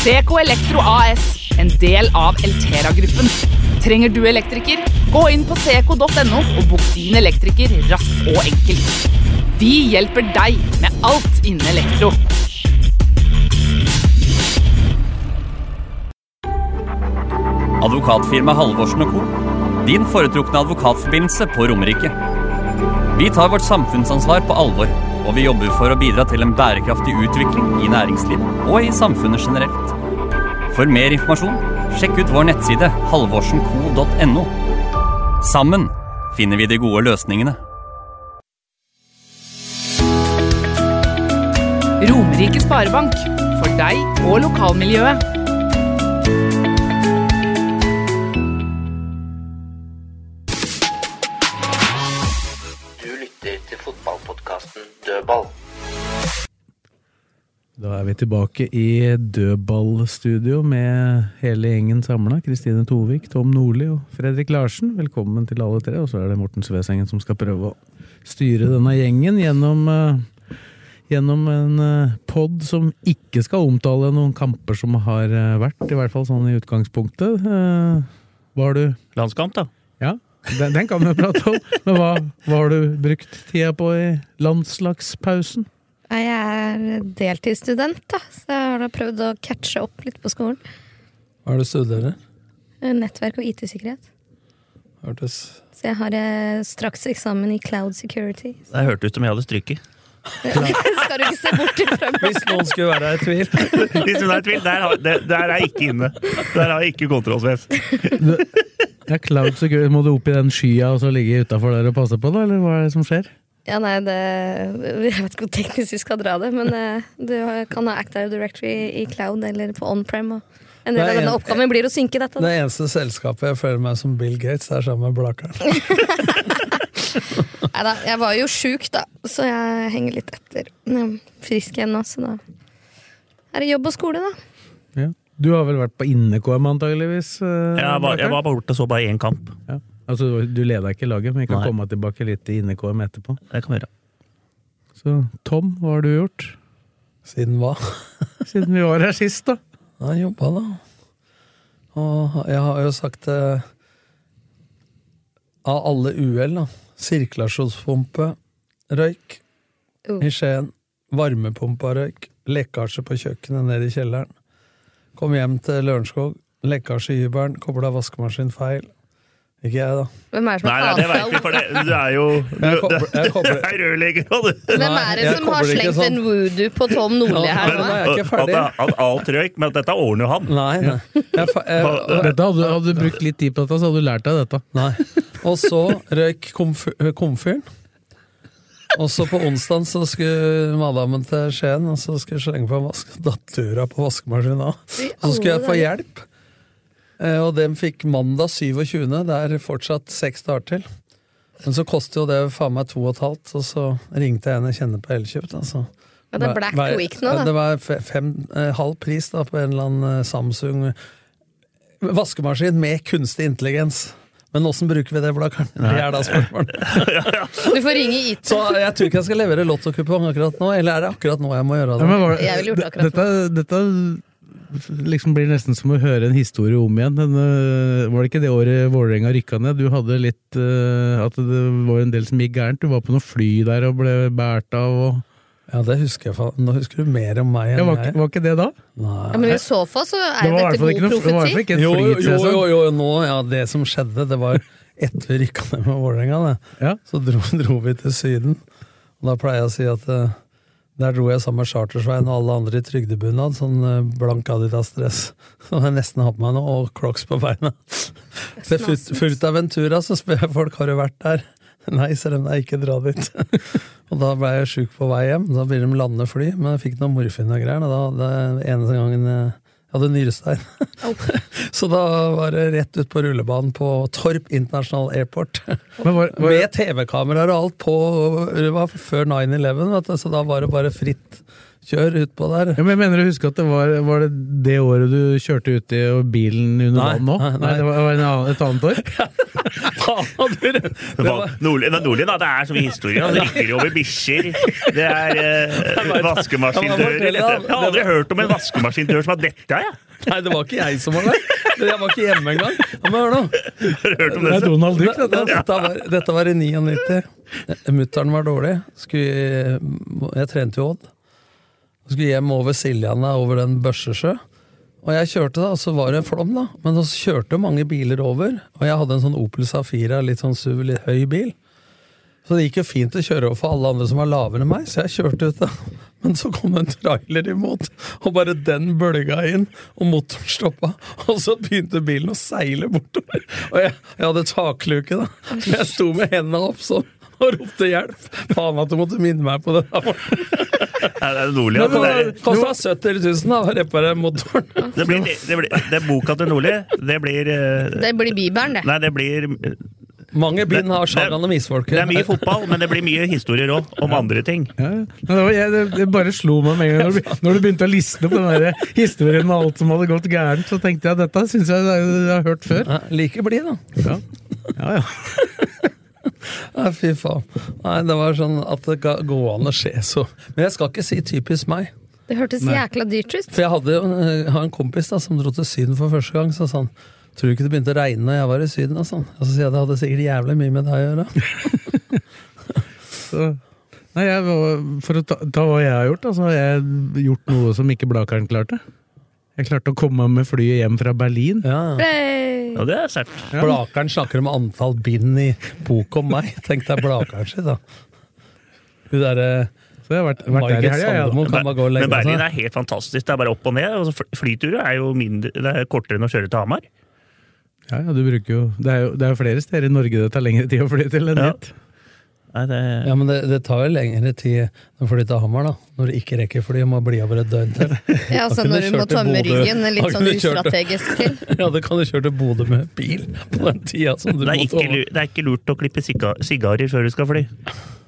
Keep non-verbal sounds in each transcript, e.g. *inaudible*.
DK Elektro AS, en del av Eltera-gruppen. Trenger du elektriker? Gå inn på seco.no og bok din elektriker raskt og enkelt. Vi hjelper deg med alt innen elektro. Advokatfirma Halvorsen og Co. Din foretrukne advokatforbindelse på Romerike. Vi tar vårt samfunnsansvar på alvor, og vi jobber for å bidra til en bærekraftig utvikling i næringslivet og i samfunnet generelt. For mer informasjon, sjekk ut vår nettside halvorsenco.no. Sammen finner vi de gode løsningene. Romerike Sparebank. For deg og lokalmiljøet. Du lytter til fotballpodkasten Dødball. Da er vi tilbake i dødballstudio med hele gjengen samla. Kristine Tovik, Tom Nordli og Fredrik Larsen. Velkommen til alle tre. Og så er det Morten Svesengen som skal prøve å styre denne gjengen gjennom, eh, gjennom en eh, pod som ikke skal omtale noen kamper som har eh, vært, i hvert fall sånn i utgangspunktet. Eh, Hva har du Landskamp, da. Ja, den, den kan vi jo prate om. Men hva, hva har du brukt tida på i landslagspausen? Jeg er deltidsstudent, da, så jeg har da prøvd å catche opp litt på skolen. Eh, Hva er det du studerer? Nettverk og IT-sikkerhet. Hørtes Så jeg har eh, straks eksamen i cloud security. Det hørtes ut som jeg hadde *laughs* stryket. Skal du ikke se bort ifra meg? Hvis noen skulle være i tvil. Hvis noen er i tvil, Der, har- det- der er jeg ikke inne. Der har jeg ikke kontrollsvest. Ja, cloud security. Må du opp i den skya og så ligge utafor der og passe på, da? Eller hva er det som skjer? Ja, nei, det Jeg vet ikke hvor teknisk vi skal dra det, men eh, du kan ha Active Directory i cloud eller på on-prem. og En del Det er av denne en- oppgaven blir å synke dette. da. eneste selskapet jeg føler meg som Bill Gates, det er sammen med Blakeren. Neida, jeg var jo sjuk, da, så jeg henger litt etter. Men jeg er Frisk igjen nå, så da er det jobb og skole, da. Ja. Du har vel vært på inne-KM, antageligvis? eh, Jeg var, jeg Blakkaren? var borte og så bare én kamp. Ja. Altså, du- du leda ikke laget, men vi kan Nei. komme tilbake litt til inne-KM etterpå. Det kan vi gjøre. Så Tom, hva har du gjort Siden hva? *laughs* siden vi var her sist, da? Jeg jobba, da. Og jeg har jo sagt eh, Av alle uhell, da. Sirkulasjonspumpe, røyk Oh. i Skien. Varmepumpa røyk. Lekkasje på kjøkkenet nede i kjelleren. Kom hjem til Lørenskog. Lekkasje i hybelen. Kobla vaskemaskin feil. Ikke jeg, da. Hvem er det som det har veit vi, for du er jo Jeg kobler- jeg *laughs* kobler- er rørlegger, og du Hvem Nei, er det jeg som har kobler ikke slengt sånn. en voodoo på Tom Nordli her nå? jeg ikke ferdig. At, alt røyk, men dette ordner jo han. Nei, nei. Jeg, fa- jeg, Dette hadde, hadde du brukt litt tid på dette, så hadde du lært deg dette. Nei. Og så røyk komfy- komfyren. Og så på onsdag så skulle madammen til Skien og så skulle jeg slenge på en vask. Datura på vaskemaskina. Så skulle jeg få hjelp. Eh, Og dem fikk mandag 27. Det er fortsatt seks dager til. Men så koster jo det faen meg to og et halvt, og så ringte jeg en jeg kjenner på Elkjøp. da, så- Ja, det er Black Hver- Week nå, da. Det var fe- fem, eh, halv pris da, på en eller annen eh, Samsung vaskemaskin med kunstig intelligens. Men åssen bruker vi det, Blakkaren? Det er da spørsmålet. *laughs* Du får ringe IT. Så jeg tror ikke jeg skal levere lottokupong akkurat nå, eller er det akkurat nå jeg må gjøre Ja, det? men var, Jeg ville gjort det- akkurat dette, dette liksom blir nesten som å høre en historie om igjen. Den, øh, var det ikke det året Vålerenga rykka ned? Du hadde litt øh, At det var en del som gikk gærent. Du var på noe fly der og ble båret av og Ja, det husker jeg faen. Nå husker du mer om meg ja, enn var, ikke- jeg. var ikke det da? Nei. Ja, men i så fall så er Det var i hvert dette fall ikke, god noe, det var i hvert fall profeti. ikke et Jo, jo, fly til jo, jo, sesong. nå, ja, det som skjedde, det var etter vi rykka ned med Vålerenga, det. Ja. Så *laughs* dro, dro vi til Syden. Og da pleier jeg å si at eh, der dro jeg sammen med Chartersveien og alle andre i trygdebunad, sånn eh, blank Adidas-dress *laughs* som jeg nesten har på meg nå, og crocs på beina. Til Furt- Furtaventura så spør jeg folk har du vært der. Nei, sier de, nei, ikke dra dit. *laughs* og da ble jeg sjuk på vei hjem. Da begynner de å lande fly, men jeg fikk noe morfin og greier. Og da hadde jeg eneste gangen eh, jeg jeg hadde nyrestein. Så da var det rett ut på rullebanen på Torp International Airport. Men var, var, Med TV-kameraer og alt på. og Det var før 9-11, vet du, så *laughs* da var det bare fritt kjør utpå der. ja, men jeg mener å huske at det var, var det det året du kjørte uti og bilen under Nei, vann nå? nei, Nei, nei. det var, var en annen, et annet år? Faen, du! Det var, Nordli, det er Nordli, da. Det er så mye historie. Han rikker over bikkjer. Det er eh, vaskemaskinrør. Jeg har aldri hørt om en vaskemaskinrør som har dette, jeg. nei, det var ikke jeg som var der. Jeg var ikke hjemme engang. Ja, Men hør nå. Har du hørt om Det det? er Donald Duck, Dette, dette. dette, var, dette var i 99. Mutter'n var dårlig. Skulle, jeg trente jo Odd. Skulle hjem over Siljanna, over den Børsesjø. Og jeg kjørte, da, og så var det en flom, da. Men så kjørte mange biler over. Og jeg hadde en sånn Opel Safira, litt sånn SUV, litt høy bil. Så det gikk jo fint å kjøre over for alle andre som var lavere enn meg, så jeg kjørte ut, da. Men så kom en trailer imot, og bare den bølga inn, og motoren stoppa. Og så begynte bilen å seile bortover. Og jeg, jeg hadde takluke, da. Så jeg sto med hendene opp sånn og ropte hjelp. Faen at du måtte minne meg på det. da. Er det Nordli? altså? Det er- Det kosta 70 000 da, å reparere motoren. Det blir, det blir, det er boka til Nordli. Det blir eh, Det blir Bibelen, det. Nei, det blir Mange bind har Det- det- Sjagan og Det er mye Misfolket. fotball, men det blir mye historier òg, om andre ting. Ja, ja. Nei, det, var, jeg, det, det bare slo meg med en gang. Når du, be- når du begynte å liste opp den der historien med alt som hadde gått gærent, så tenkte jeg dette syns jeg jeg, har hørt før. Ja, Like blid, da. Ja. Ja, ja. *laughs* Nei, fy faen. Nei, det var sånn at det ga- går an å skje så Men jeg skal ikke si typisk meg. Det hørtes jækla dyrt ut. For jeg hadde jo en, jeg har eh, en kompis da, som dro til Syden for første gang. Så sa han tror du ikke det begynte å regne når jeg var i Syden? Og, sånn. og så sier jeg det hadde sikkert jævlig mye med deg å gjøre. Så, nei, jeg, var- for å ta, ta hva jeg har gjort, da, så har jeg gjort noe som ikke Blakeren klarte. Jeg klarte å komme med flyet hjem fra Berlin. Ja. Hey. Ja, det er sært. Blakeren snakker om antall bind i bok om meg. *laughs* Tenk deg Blakeren sin, da. Hun derre Så jeg har vært, vært der i Margit helga. jeg, da. Sandemo kan bare gå og Men legge Berlin seg. er helt fantastisk. Det er bare opp og ned. Og så fly- flyturer er jo mindre, det er kortere enn å kjøre til Hamar. Ja, ja, du bruker jo Det er jo det er jo flere steder i Norge det tar lengre tid å fly til enn Ja. dit. Nei, det, Ja, men det, det tar jo lengre tid å fly til Hamar, da. Når du ikke rekker fly og må bli over et døgn til. Ja, Da altså kunne når du du må kjørt til tømme Bodø. ryggen Da litt kunne sånn du kjørt til- ustrategisk til. *laughs* Ja, det kan du kjøre til Bodø med bil på den tida som du det, er måtte ikke, lu- det er ikke lurt å klippe siga- sigarer før du skal fly.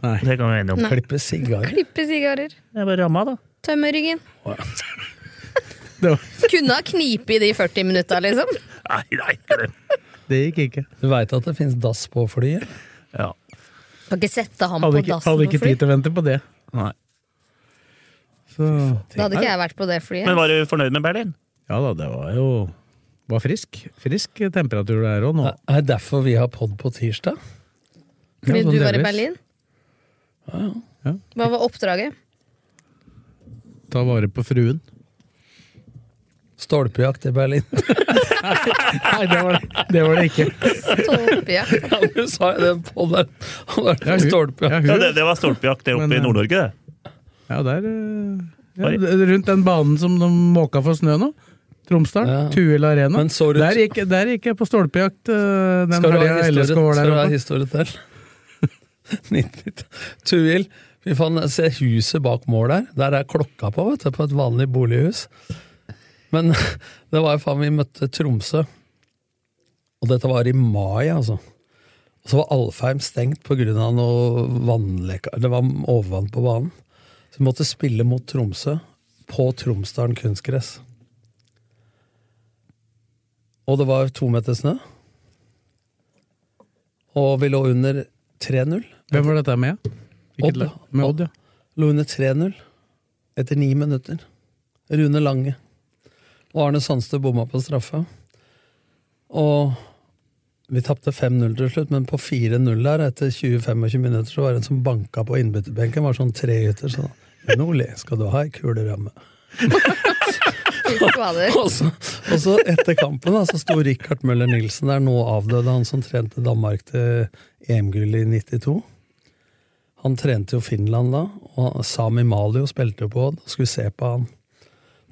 Nei. Det kan vi være enige om. Nei. klippe sigarer. Klippe sigarer. Det er bare ramma, da. Tømme ryggen. Det, var, Kunne ha knipet i de 40 minutta, liksom. Nei, nei, ikke det. det gikk ikke. Du veit at det fins dass på flyet? Ja. Kan ikke sette ham Hadde på ikke, hadde dassen på ikke fly. tid til å vente på det. Nei. Så Da hadde ikke jeg vært på det Men flyet. var du fornøyd med Berlin? ja da, det var jo var frisk. Frisk temperatur der òg nå. Er det derfor vi har pod på tirsdag? Ja, Fordi sånn du var i delvis. Berlin. Ja. Hva var oppdraget? Ta vare på fruen. Stolpejakt i Berlin. *laughs* Nei, det var det, *laughs* det, var det ikke. Stolpejakt. Ja, du sa jo den podden. Han har Ja, vært på hun- Stolpejakt. Ja, Ja, hun, det, det var stolpejakt det oppe Men, i eh, Nord-Norge, det. ja, der eh, ja, Var det- d- Rundt den banen som de måka for snø nå. Tromsdal. Ja. Tuel Arena. Men så du- der, gikk, der gikk jeg på stolpejakt eh, den Skal du ha helga historie- LSK var skal der du ha oppe. historie til? *laughs* 90. Tuil, vi fant, se huset bak mål der. Der er klokka på, vet du, på et vanlig bolighus. Men *laughs* det var jo faen vi møtte Tromsø. Og dette var i mai, altså. Og så var Alfheim stengt pga. noe vannlekka Det var overvann på banen. Så vi måtte spille mot Tromsø på Tromsdalen kunstgress. Og det var to meter snø. Og vi lå under 3-0. Hvem var dette med? Hvilket Odd, lag? ja. Med *laughs* Odd, ja. Lå under 3-0 etter ni minutter. Rune Lange. Og Arne Sandstø bomma på straffa. Og vi tapte 5-0 til slutt, men på 4-0 der etter 20-25 minutter så var det en som banka på innbytterbenken. var sånn treyter. Så Men Ole, skal du ha ei kuleramme? Fy *laughs* fader. Og så, og så etter kampen da, så sto Richard Møller Nilsen der, nå avdøde, han som trente Danmark til EM-gull i 92. Han trente jo Finland da, og Sami Malio spilte jo på Odd, skulle se på han.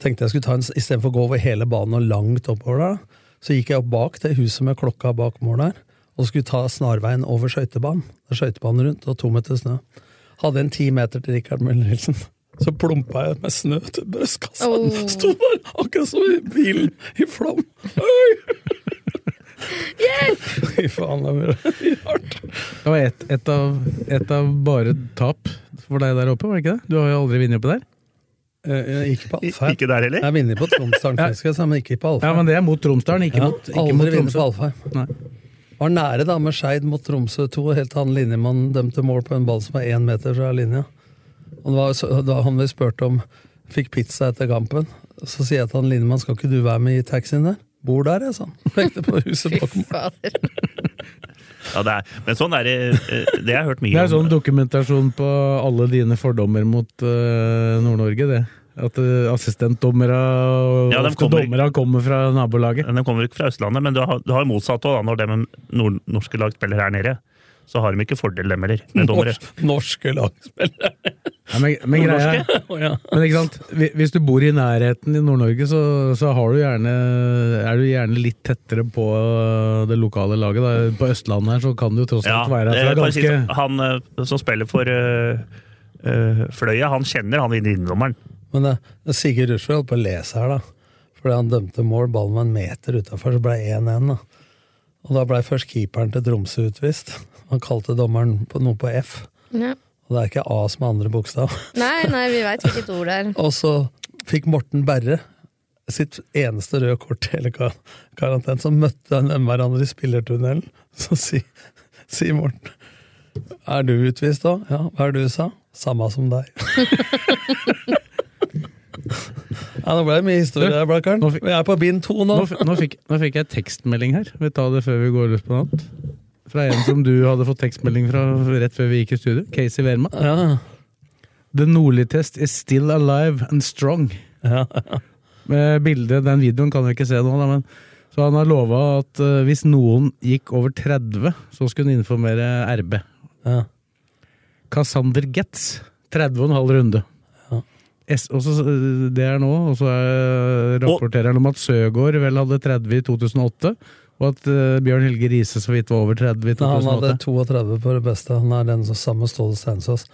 Tenkte jeg skulle ta en, Istedenfor å gå over hele banen og langt oppover der, så gikk jeg opp bak det huset med klokka bak mål der. Og og skulle ta snarveien over skøytebanen. Det er skøytebanen rundt og to meter snø. Hadde en ti meter til Rikard Møller Nilsen. *laughs* Så plumpa jeg med snø til brystkassa. Oh. Sto der akkurat som i bilen i flom. Oi! Hjelp! *laughs* Fy faen, det var rart. Det var ett et av, et av bare tap for deg der oppe, var det ikke det? Du har jo aldri vunnet oppe der? ikke Eh, på Alfheim. Ikke der heller? Jeg vinner på Tromsdalen, *laughs* Ja. faktisk, altså, men ikke på Alfheim. Ja, men det er mot Tromsdalen, ikke Ja, mot, ikke aldri mot vinner på Tromsø. Alfheim. Nei. Var nære da med Skeid mot Tromsø 2, helt til han linjemannen dømte mål på en ball som er én meter fra linja. Og det var så- da han vi spurte om fikk pizza etter kampen, så sier jeg til han linjemannen skal ikke du være med i taxien der? Bor der, jeg, sa han. Pekte på huset *laughs* bak meg. Ja, det er, men sånn er det. eh, Det har jeg hørt mye Det er om. sånn dokumentasjon på alle dine fordommer mot eh, Nord-Norge, det. At uh, assistentdommere og Ja, de ofte kommer- dommere kommer fra nabolaget. De kommer ikke fra Østlandet, men du har, du har motsatt òg. Når de nord norske lag spiller her nede, så har de ikke fordel, dem heller, med dommere. Norske lag. Ja, men, men greia Nordnorske? *laughs* Å, ja. Men ikke sant? Hvi- Hvis du bor i nærheten i Nord-Norge, så, så har du gjerne, er du gjerne litt tettere på eh, det lokale laget. Da. På Østlandet her så kan du jo tross alt være eh, fra kan jeg si ganske sånn, han eh, som spiller for eh, eh, Fløya, han kjenner han innedommeren. Men eh, Sigurd Rushfeldt holdt på å lese her, da. Fordi han dømte mål, ballen var en meter utafor, så ble det 1-1. da. Og da blei først keeperen til Tromsø utvist. Han kalte dommeren på noe på F. Ja. Og det er ikke A som er andre bokstav. *laughs* Nei, nei, vi veit hvilket ord det er. *laughs* Og så fikk Morten Berre sitt eneste røde kort i hele kar- karantenen. Så møtte han dem hverandre i spillertunnelen. *laughs* Så sier si Morten Er du utvist da? Ja, hva er det du sa? Samme som deg. *laughs* ja, nå ble det mye historie der, Blakkaren. Nå fikk- Vi er på bind to nå. Nå, f- nå, fikk, nå fikk jeg tekstmelding her. Vi tar det før vi går løs på noe annet. Fra en som du hadde fått tekstmelding fra rett før vi gikk i studio. Casey Verma. Ja. The Nordli-test is still alive and strong. Med bildet, Den videoen kan vi ikke se nå, da, men så han har lova at eh, hvis noen gikk over 30, så skulle han informere RB. Ja. Cassander Getz, 30,5 runde. S, og så, eh, det er nå, og så eh, rapporterer han om at Søgaard vel hadde 30 i 2008, og at eh, Bjørn Helge Riise så vidt var over 30 i Nei, han hadde 2008. 32 på det beste. Han er den som samme Ståle Steinsås.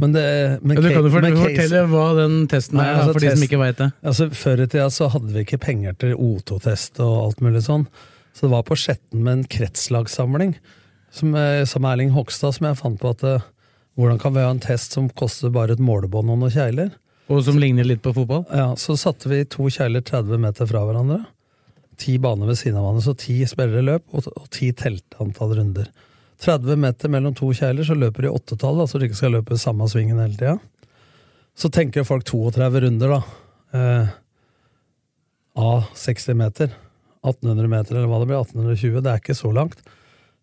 Men det men Ja, du Kate- kan jo men fort- Casey- fortelle hva den testen Nei, er, altså, da, for de test- som ikke veit det. Altså, Før i tida så hadde vi ikke penger til O2-test og alt mulig sånn. Så det var på Skjetten med en kretslagssamling som, eh, som Erling Hogstad som jeg fant på at eh, hvordan kan vi ha en test som koster bare et målebånd og noen kjegler? Og som ligner litt på fotball? Ja, Så satte vi to kjegler 30 meter fra hverandre. Ti baner ved siden av hverandre, så ti spillere løp, og, og ti telte antall runder. 30 meter mellom to kjegler, så løper de i åttetall, da, så de ikke skal løpe samme svingen hele tida. Så tenker jo folk 32 runder, da. Eh, av 60 meter. 1800 meter, eller hva det blir. 1820. Det er ikke så langt.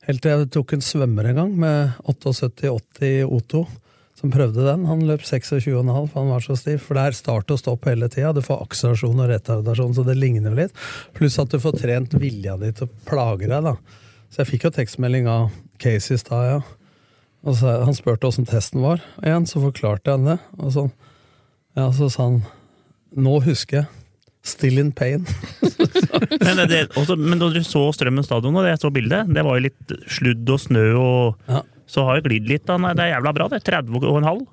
Helt til jeg tok en svømmer en gang med 78-80 i O2, Eh, som prøvde den. Han løp 26,5, for han var så stiv. For det er start og stopp hele tida. Du får akselerasjon og retardasjon, så det ligner jo litt. Pluss at du får trent vilja di til å plage deg, da. Så jeg fikk jo tekstmelding av Casey i stad, ja. Og så, han spurte åssen testen var. Igjen, så forklarte jeg han det. Og sånn. Ja, så sa han Nå husker jeg. Still in pain. Men, eh, det, også, men da dere så Strømmen stadion, og jeg så bildet, det var jo litt sludd og snø og Så har jo glidd litt. Da. Nei, det er jævla bra, det. 30 og en halv.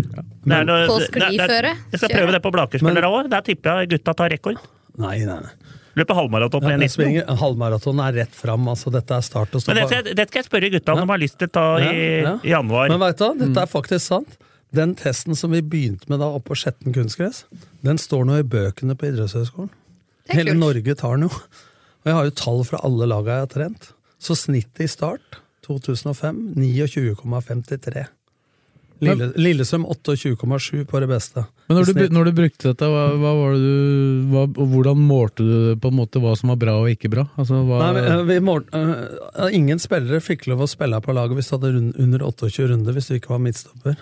Det er noe- På det- det- det- skliføre? Jeg skal Kjøre. prøve det på Blakerspillere òg. Der tipper jeg gutta tar rekord. Nei, nei, nei. Løper halvmaraton på Ja, 1,19. svinger- halvmaraton er rett fram. Altså, dette er start og stopp. Men det skal, jeg- det skal jeg spørre gutta om de har lyst til å ta i Ja, ja. i januar. Men vet du, hva? dette er faktisk sant. Den testen som vi begynte med da oppe på Skjetten kunstgress, den står nå i bøkene på idrettshøyskolen. Det er Hele kult. Norge tar den jo. Og jeg har jo tall fra alle laga jeg har trent. Så snittet i start 2005 29,53. Lille, Lillestrøm 28,7 på det beste. Men I når du, snitt. bru- når du brukte dette, hva, hva var det du, hva, og hvordan målte du på en måte hva som var bra og ikke bra? Altså, hva, Nei, men, eh, vi må, eh, ingen spillere fikk lov å spille på laget hvis du hadde rund, under 28 runder hvis du ikke var midtstopper.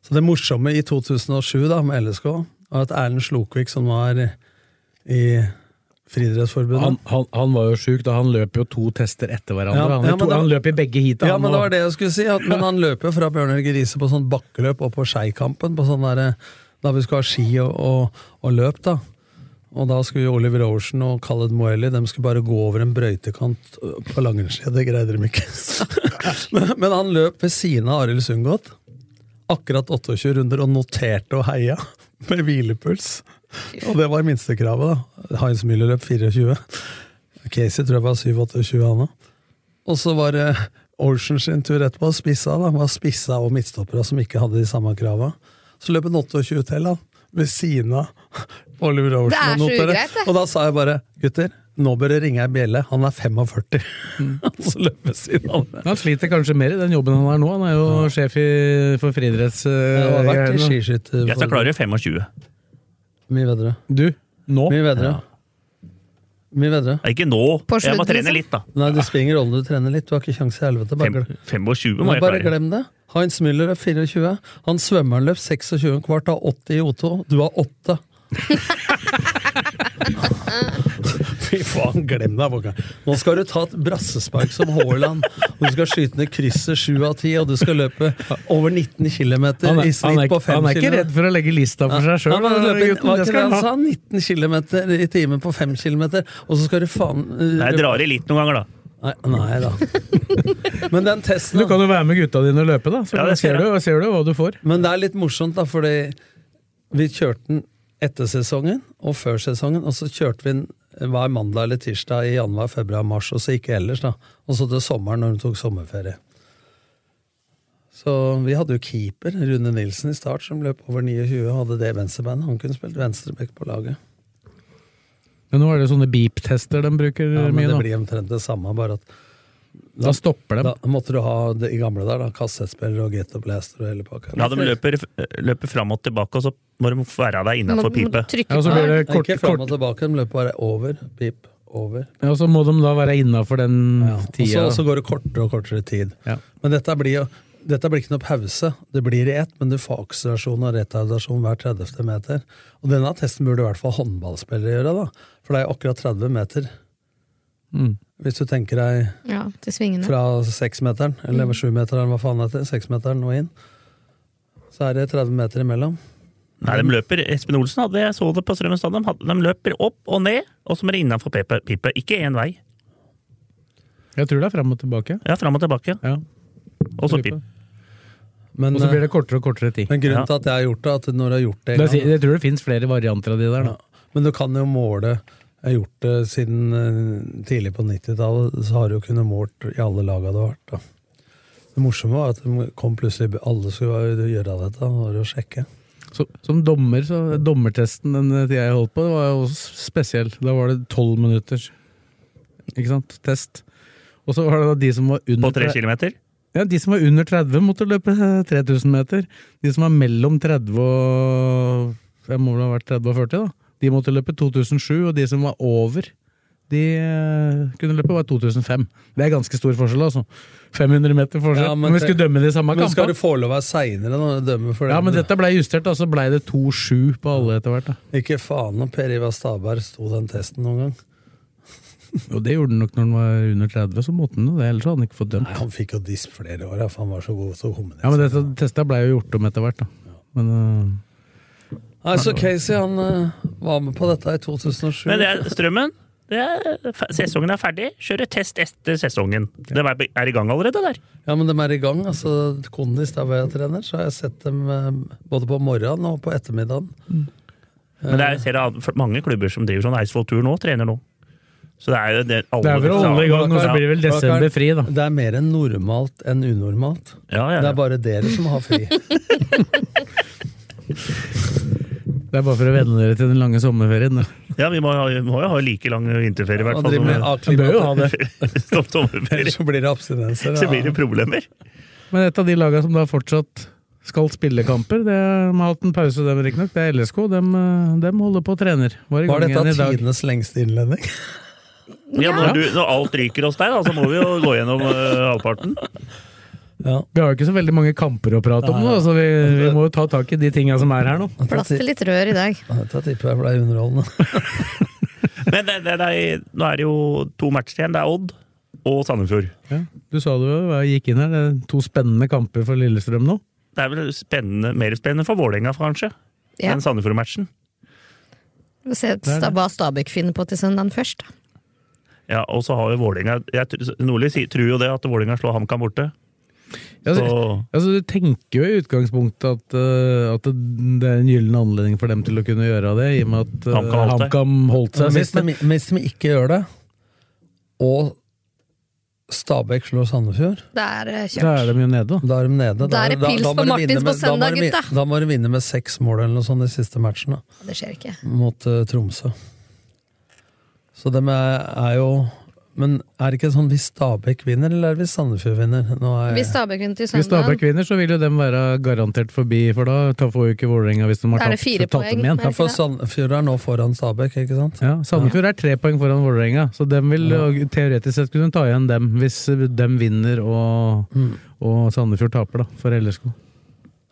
Så det morsomme i 2007 da, med LSK var at Erlend Slokvik, som var i- i Friidrettsforbundet han, han, han var jo sjuk, da. Han løp jo to tester etter hverandre. Ja, han, ja, men to, da- han løp i begge heata. Ja, han men det og- var det jeg skulle si. At, men han løper jo fra Bjørn Helge Riise på sånn bakkeløp og på Skeikampen, på sånn derre da vi skulle ha ski og, og, og løp, da. Og da skulle jo Oliver Ocean og Khaled Moelli de skulle bare gå over en brøytekant øh, på langrennsski. Det greide de ikke. *laughs* men, men han løp ved siden av Arild Sundgodt. Akkurat 28 runder og noterte og heia med hvilepuls. Og det var minstekravet, da. Heinz Müller løp 24. Casey tror jeg var 27-28, han òg. Og så var det Ocean sin tur etterpå. Spissa da, var spissa og midtstoppere som ikke hadde de samme krava. Så løp en 28 til da, ved siden av Oliver Ocean. og Det er så notere. ugreit, det. Og da sa jeg bare gutter, nå bør det ringe ei bjelle. Han er 45. *laughs* Og så løper siden av det. Han sliter kanskje mer i den jobben han har nå. Han er jo sjef i, for friidretts... øh, Jeg har vært i skiskytter. Jeg skal klare 25. Mye bedre. Du, nå? Mye bedre. Mye bedre. Nei, Ikke nå. På Jeg må slutten, trene liksom. litt, da. Nei, det spiller ingen rolle, du trener litt. Du har ikke kjangs i helvete. Bare glem- Fem- 25 må Nei, jeg bare klare. glem det. Heinz Müller er 24. Han svømmeren løp 26 kvart, har 80 i O2. Du har 8. *laughs* Fy faen, glem deg, Boka. Nå skal du ta et brassespark som Haaland. Og du skal skyte ned krysset 7 av 10, og du skal løpe over 19 km Han er, i han snitt er, på 5 km. han er ikke redd for å legge lista for seg sjøl. Ja, men løper- Var ikke det han sa? 19 km i timen på 5 km, og så skal du faen eh, Nei, Jeg drar i litt noen ganger, da. Nei, nei *laughs* da. Men den testen Du kan jo være med gutta dine og løpe, da. Så Ja, det skal ser, jeg. du, ser du hva du får. Men det er litt morsomt, da, fordi vi kjørte den etter sesongen og før sesongen, og så kjørte vi den hver mandag eller tirsdag i januar, februar, mars, og så ikke ellers, da. Og så til sommeren, når hun tok sommerferie. Så vi hadde jo keeper, Rune Nilsen, i start, som løp over 29 og hadde det venstrebeinet. Han kunne spilt venstreback på laget. Men nå er det jo sånne beep-tester de bruker Ja, men mye det nå. blir omtrent det samme, bare at Da stopper de. Da måtte du ha det i gamle der, da. Kassettspiller og get up blaster og hele pakka. La dem løper, løper fram og tilbake, og så må de være der innafor pipe. Nei, Ikke fram og tilbake, de løper bare over, pip, over. Ja, så må de da være innafor den Og så, tida. og så går det kortere og kortere tid. Men dette blir jo dette blir ikke noe pause. Det blir i ett, men du får akselerasjon og retardasjon hver 30. meter. Og denne testen burde i hvert fall håndballspillere gjøre, da. For det er jo akkurat 30 meter. Mm. Hvis du tenker deg Ja, til svingene. fra seksmeteren, eller Mm. sjumeteren, hva faen heter det, seksmeteren og inn, så er det 30 meter imellom. Nei, de løper, Espen Olsen hadde jeg så det på Strømmen stadion. hadde- De løper opp og ned, og så må de innafor pipe. pipe. Ikke én vei. Jeg tror det er fram og tilbake. Ja, fram og tilbake. Og så pip. Men, og så blir eh, det kortere og kortere tid. Men grunnen til at jeg har gjort det, at når du har gjort det en Da sier- gang- Jeg tror det fins flere varianter av de der. Da. Men du kan jo måle Jeg har gjort det siden eh, tidlig på 90-tallet, så har du jo kunnet målt i alle laga du har vært. da. Det morsomme var at de kom plutselig alle skulle gjøre dette, og det var å sjekke. Så, som dommer, så dommertesten den tida jeg holdt på, det var jo også spesiell. Da var det tolv minutter Ikke sant? test. Og så var det da de som var under På tre kilometer. Ja, De som var under 30, måtte løpe eh, 3000 meter. De som var mellom 30 og Jeg må vel ha vært 30 og 40, da. De måtte løpe 2007, og de som var over, de eh, kunne løpe bare 2005. Det er ganske stor forskjell, altså. 500 meter forskjell. Ja, men, vi skulle dømme de samme Men skal kampene. du få lov å være seinere når du dømmer for det? Ja, men dette ble justert, da, så ble det 2-7 på alle etter hvert. da. Ikke faen om Per Ivar Staberg sto den testen noen gang. Jo, det gjorde han nok når han var under 30, så måtte han jo det, ellers hadde han ikke fått dømt. Nei, Han fikk jo disp flere år, ja, for han var så god til å hominere. Ja, men dette testa blei jo gjort om etter hvert, da. Men øh, Nei, så Casey han eh, var med på dette i 2007. Men det er strømmen. Det er, fe- sesongen er ferdig. Kjøre test etter sesongen. Det er er i gang allerede der. Ja, men de er i gang. altså Kondis, der hvor jeg trener, så har jeg sett dem eh, både på morgenen og på ettermiddagen. Men det er, ser jeg, at mange klubber som driver sånn Eidsvoll Tur nå, trener nå. Så det er jo det alle- Ja. fri, da. Det er mer enn normalt enn unormalt. Ja, ja, Det ja. er bare dere som har fri. det er bare for å venne dere til den lange sommerferien. da. Ja, vi må, ha- vi må jo ha like lang vinterferie, i hvert Og fall. driver med Vi bør jo ha det. *laughs* Som sommerferie. Ellers så blir det abstinenser. Så blir det problemer. *laughs* Men et av de laga som da fortsatt skal spille kamper, det er, de har hatt en pause, dem riktignok, det er LSK. Dem, øh, dem holder på og trener. Var i Var gang dette igjen i dag. tidenes lengste innledning? Ja, når, du, når alt ryker hos deg, da, så må vi jo gå gjennom eh, halvparten. Vi har jo ikke så veldig mange kamper å prate om nå, så vi, vi må jo ta tak i de tinga som er her nå. Plass til litt rør i dag. Dette tipper jeg ble underholdende. Men det, det, det er, nå er det jo to matcher igjen. Det er Odd og Sandefjord. Ja, du sa det jo da jeg gikk inn her, det er to spennende kamper for Lillestrøm nå. Det er vel spennende, mer spennende for Vålerenga, kanskje, Ja. enn Sandefjord-matchen. Vi ser Det er det. hva Stabæk finner på til søndagen først. Da. Ja, og så har jo Vålinga jeg tr- Nordli sier- tror jo det, at Vålinga slår HamKam borte. Altså, altså, du tenker jo i utgangspunktet at, eh, at det er en gyllen anledning for dem til å kunne gjøre det, i og med at eh, HamKam holdt seg. HamKam holdt seg Men hvis sist. de, hvis de ikke gjør det, og Stabæk slår Sandefjord Det er eh, Da kjørt. er de jo nede, da. Da er de nede. Da er det pils må på de Martins vinne med- da på må søndag, de vin- gutta. Da må de vinne med seks mål eller noe sånt de siste matchene Det skjer ikke. mot eh, Tromsø. Så dem er, er jo Men er det ikke sånn hvis Stabæk vinner, eller er det hvis Sandefjord vinner? Nå er, Hvis Stabæk vinner til Hvis Stabæk søndagen vinner, så vil jo dem være garantert forbi, for da tar- får jo ikke Vålerenga hvis de har Da er tatt, det fire tatt poeng, dem igjen. er det Ja, for Sandefjord er nå foran Stabæk, ikke sant? Ja, Sandefjord er tre poeng foran Vålerenga, så dem vil jo teoretisk sett kunne ta igjen dem hvis dem vinner og, Mm. og Sandefjord taper, da, for LSK.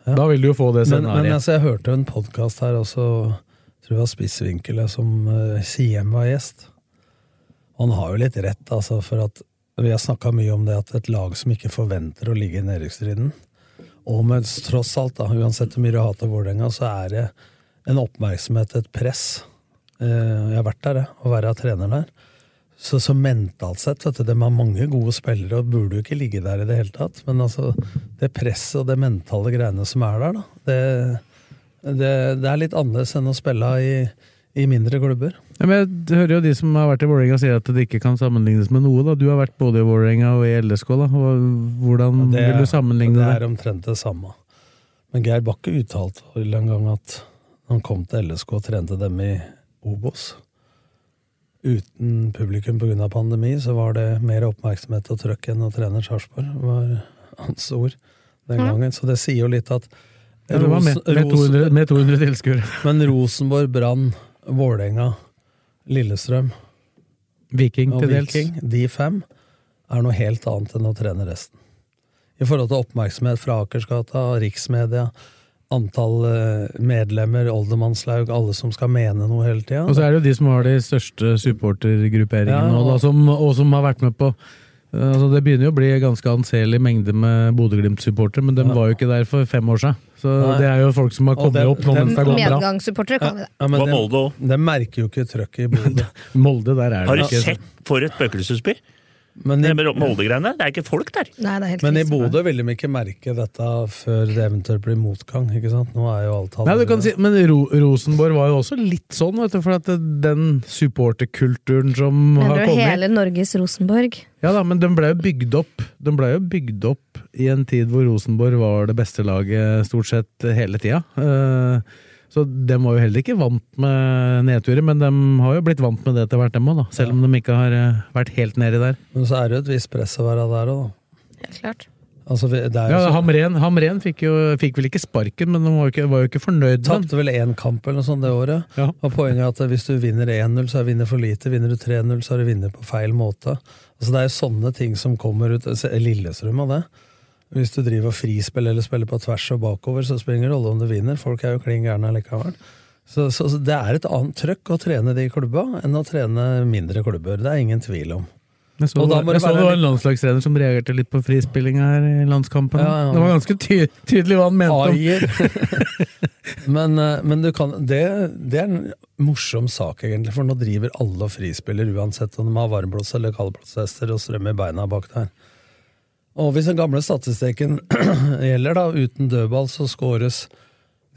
Da vil du jo få det Men, men scenarioet. altså, jeg hørte en podkast her også, jeg tror jeg var Spissvinkel, jeg, som eh, Siem var gjest. Og han har jo litt rett, altså, for at vi har snakka mye om det at et lag som ikke forventer å ligge i nedrykksstriden, og med tross alt, da, uansett hvor mye du hater Vålerenga, så er det en oppmerksomhet, et press. Eh, Jeg har vært der, jeg, og være trener der. Så, så mentalt sett, vet du, de har mange gode spillere og burde jo ikke ligge der i det hele tatt. Men altså, det presset og det mentale greiene som er der, da, det, det, det er litt annerledes enn å spille i, i mindre klubber. Ja, men jeg hører jo de som har vært i Vålerenga sier at det ikke kan sammenlignes med noe. da. Du har vært både i Vålerenga og i LSK. da. Hva- Hvordan Og det, Mm, vil du sammenligne det det? er omtrent det samme. Men Geir Bakke uttalte vel en gang at han kom til LSK og trente dem i Obos. Uten publikum pga. pandemi så var det mer oppmerksomhet og trøkk enn å trene Sarpsborg, var hans ord den gangen. Så det sier jo litt at Ja, det var med, med, Rosen- 200, med 200 *laughs* tilskuere. Men Rosenborg, Brann, Vålerenga, Lillestrøm Viking og til dels. Viking, de fem, er noe helt annet enn å trene resten. I forhold til oppmerksomhet fra Akersgata, riksmedia, antall eh, medlemmer, oldemannslaug, alle som skal mene noe hele tida. Og så er det jo de som har de største supportergrupperingene, Ja, og, da, og- som, og som har vært med på eh, altså Det begynner jo å bli en ganske anselig mengde med Bodø-Glimt-supportere, men de Ja. var jo ikke der for fem år siden. Så Nei. det er jo folk som har Og kommet dem- opp nå dem- mens det har gått bra. Medgangssupportere kaller vi det. ja, men Og de, Molde òg. de merker jo ikke trøkket i *laughs* Bodø. Molde, der er Har det du ikke. sett for et spøkelsesby? Men Det i, med Molde-greiene, det er ikke folk der. Nei, det er helt men i krise. Bodø vil de ikke merke dette før det eventuelt blir motgang. ikke sant? Nå er jo alt Nei, du allerede- kan si, men Ro Rosenborg var jo også litt sånn, vet du, for at den supporterkulturen som har Mener du kommet hele Norges Rosenborg? Ja da, men den ble jo bygd opp Den ble jo bygd opp i en tid hvor Rosenborg var det beste laget stort sett hele tida. Eh, Så dem var jo heller ikke vant med nedturer, men de har jo blitt vant med det etter hvert, dem òg, da. Selv om de ikke har eh, vært helt nedi der. Men så er det jo et visst press å være der òg, da. Helt klart. Altså, vi- det er jo Ja, så- Hamren, Hamren fikk, jo, fikk vel ikke sparken, men de var jo ikke, var jo ikke fornøyd med den. Tapte vel én kamp eller noe sånt det året. Ja. Og poenget er at hvis du vinner 1-0, så er du vinner for lite. Vinner du 3-0, så er du vinner på feil måte. Altså Det er jo sånne ting som kommer ut. Se, Lillestrøm av det. Hvis du driver og frispiller eller spiller på tvers og bakover, så spiller det ingen rolle om du vinner. Folk er jo klin gærne likevel. Så, så, så det er et annet trøkk å trene de klubba enn å trene mindre klubber. Det er ingen tvil om. Jeg så, Og det, da må det jeg så være det var litt- en landslagstrener som reagerte litt på frispillinga her i landskampen. Ja, ja. Det var ganske ty tydelig hva han mente. om Aier. *laughs* men, eh, men du kan det, det er en morsom sak, egentlig, for nå driver alle og frispiller uansett om de har varmblås eller kaldblåshester og strøm i beina bak der. Og hvis den gamle statistikken *clears throat* gjelder, da, uten dødball, så skåres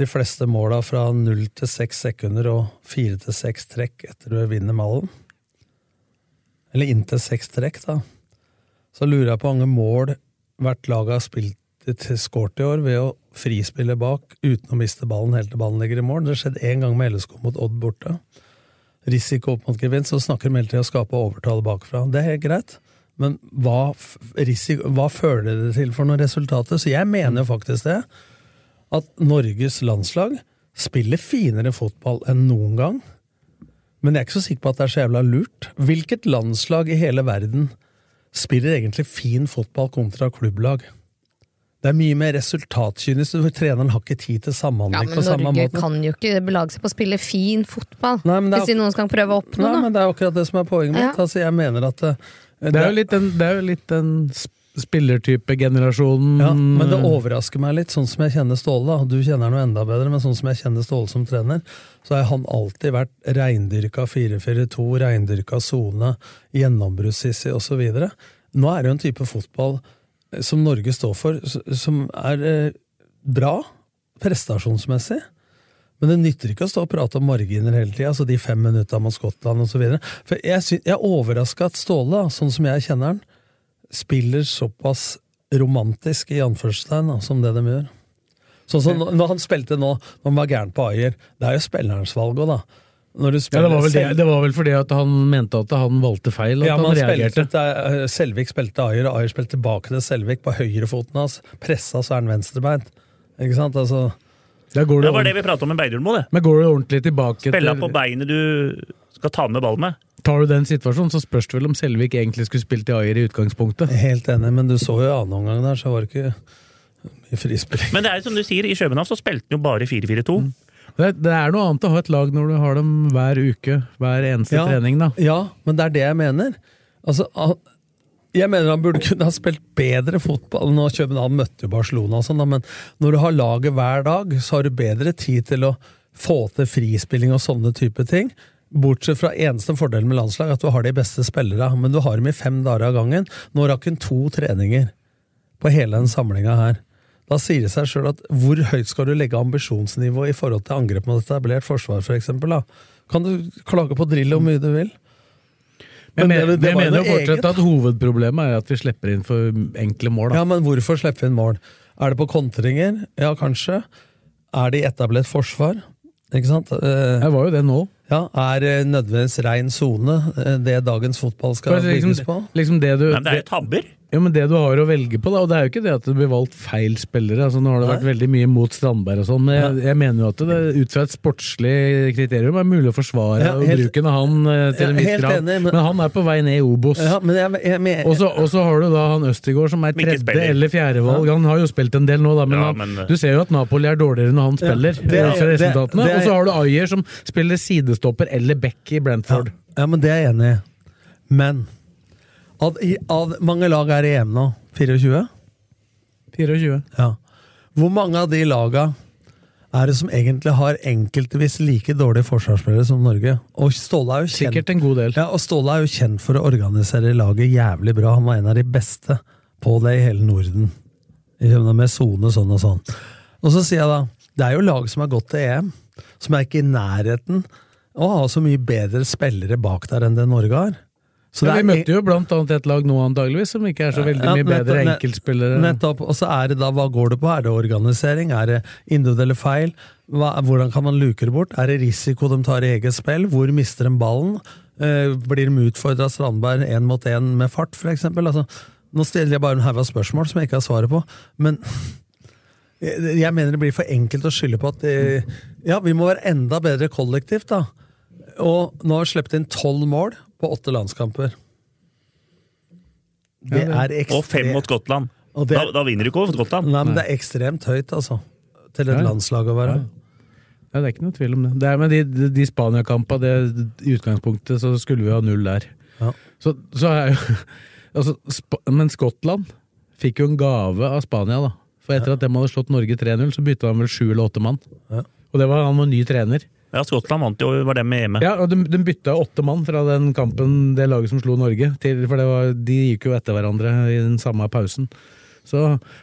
de fleste måla fra null til seks sekunder og fire til seks trekk etter du vinner mallen. Eller inntil seks trekk, da. Så lurer jeg på hvor mange mål hvert lag har spilt til skåret i år ved å frispille bak uten å miste ballen helt til ballen ligger i mål. Det skjedde én gang med LSK mot Odd borte. Risiko opp mot gevinst, så snakker de hele tiden om å skape overtall bakfra. Det er helt greit, men hva, f- risiko, hva føler det til for noen resultater? Så jeg mener jo faktisk det, at Norges landslag spiller finere fotball enn noen gang. Men jeg er ikke så sikker på at det er så jævla lurt. Hvilket landslag i hele verden spiller egentlig fin fotball kontra klubblag? Det er mye mer resultatkynisk. Du- Treneren har ikke tid til Ja, samhandling men på samme Norge måte. kan jo ikke belage seg på å spille fin fotball. Nei, men det er- Hvis de noen skal prøve å oppnå Nei, noe. men Det er akkurat det som er poenget mitt. Ja. Altså, jeg mener at eh, Det er jo litt den, det er jo litt den sp- spillertype-generasjonen ja, Men Mm. det overrasker meg litt, sånn som jeg kjenner Ståle. da. Du kjenner ham enda bedre, men sånn som jeg kjenner Ståle som trener, så har han alltid vært reindyrka 4-4-2, reindyrka sone, gjennombruddssissy osv. Nå er det jo en type fotball eh, som Norge står for, s- som er eh, bra prestasjonsmessig. Men det nytter ikke å stå og prate om marginer hele tida, altså de fem minutta mot Skottland osv. For jeg, sy- jeg er overraska at Ståle, da, sånn som jeg kjenner han, spiller såpass romantisk i anførselstegn da, som det de gjør. Sånn som nå- når han spilte nå, når han var gæren på Ayer. Det er jo spillerens valg òg, da. Når du Ja, spiller det, var vel det, selv- det var vel fordi at han mente at han valgte feil, at ja, men han han reagerte. spilte, eh, Selvik spilte Ayer, og Ayer spilte tilbake til Selvik på høyrefoten hans. Pressa, så er han venstrebeint. Ikke sant? Altså, går Det var det vi pratet om med Beidulmo, det. Men går du ordentlig tilbake Spille til- på beinet du skal ta med ball med. Tar du den situasjonen, så spørs det vel om Selvik egentlig skulle spilt i Ayer i utgangspunktet. Helt enig, men du så jo i annen omgang der, så var det ikke mye frispill. Men det er jo som du sier, i København så spilte han jo bare 4-4-2. Mm. Det, det er noe annet å ha et lag når du har dem hver uke, hver eneste Ja. trening, da. Ja, men det er det jeg mener. Altså, han- jeg mener han burde kunne ha spilt bedre fotball nå København møtte jo Barcelona og sånn, da, men når du har laget hver dag, så har du bedre tid til å få til frispilling og sånne type ting. Bortsett fra eneste fordelen med landslag, at du har de beste spillere, men du har dem i fem dager av gangen. Nå rakk hun to treninger på hele den samlinga her. Da sier det seg sjøl at hvor høyt skal du legge ambisjonsnivået i forhold til angrep mot etablert forsvar, for eksempel, da? Kan du klage på drill hvor mye du vil? Men, det- jeg mener- det jeg var mener jo noe fortsatt eget. at hovedproblemet er at vi slipper inn for enkle mål, da. Ja, men hvorfor slippe inn mål? Er det på kontringer? Ja, kanskje. Er det i etablert forsvar? Ikke sant? Det var jo det nå. Ja, Er eh, nødvendigvis rein sone eh, det dagens fotball skal For det er liksom- bygges på? liksom det du- Nei, men det er jo tabber. Ja, men det du har å velge på, da, og det er jo ikke det at det blir valgt feil spillere. altså Nå har det vært veldig mye mot Strandberg og sånn, men jeg, jeg mener jo at det ut fra et sportslig kriterium er mulig å forsvare Ja, helt- bruken av han eh, til en Ja, viss helt grad. enig, men- men... han er på vei ned i Obos. Ja, men jeg, jeg, men- Og så og så har du da han Østigård som er Ikke tredje spiller. eller fjerdevalg. Ja. Han har jo spilt en del nå, da, men, Ja, han, men- du ser jo at Napoli er dårligere når han spiller. det er- ut fra det- resultatene. det er- Og så har du Ayer som spiller sidestopper eller back i Brentford. Ja, men det er jeg enig i. Men av, i- av mange lag er i EM nå? 24? 24. Ja. Hvor mange av de laga er det som egentlig har enkeltvis like dårlige forsvarsspillere som Norge? Og Ståle er jo kjent, Sikkert en god del. Ja, og Ståle er jo kjent for å organisere laget jævlig bra. Han var en av de beste på det i hele Norden. Liksom Med sone sånn og sånn. Og så sier jeg da, det er jo lag som har gått til EM, som er ikke i nærheten å ha så mye bedre spillere bak der enn det Norge har. Så ja, det vi er en- møtte jo blant annet et lag nå antageligvis som ikke er så veldig ja, mye nettopp- bedre nett- enkeltspillere. Nettopp. Og så er det da, hva går det på? Er det organisering? Er det individuelle feil? Hva, hvordan kan man luke det bort? Er det risiko de tar i eget spill? Hvor mister de ballen? Eh, blir de utfordra av Strandberg én mot én med fart, f.eks.? Altså, nå stiller jeg bare en haug av spørsmål som jeg ikke har svaret på, men *laughs* jeg jeg mener det blir for enkelt å skylde på at eh, Ja, vi må være enda bedre kollektivt, da. Og nå har vi sluppet inn tolv mål på åtte landskamper. Det er Og fem ekstremt mot Skottland. Og det- Da, da vinner du ikke over Skottland. Nei, men det er ekstremt høyt, altså. Til et Ja, ja. landslag å være. Ja, det er ikke noe tvil om det. det er, men de, de, de Spania-kampene, det- i utgangspunktet så skulle vi ha null der. Så, så er jo *laughs* altså, Sp Men Skottland fikk jo en gave av Spania, da. For etter at de hadde slått Norge 3-0, så bytta han vel sju eller åtte mann. Og det var han var ny trener. Ja, Skottland vant jo, var dem med hjemme. Ja, og de, de bytta åtte mann fra den kampen, det laget som slo Norge, til, for det var, de gikk jo etter hverandre i den samme pausen. Så,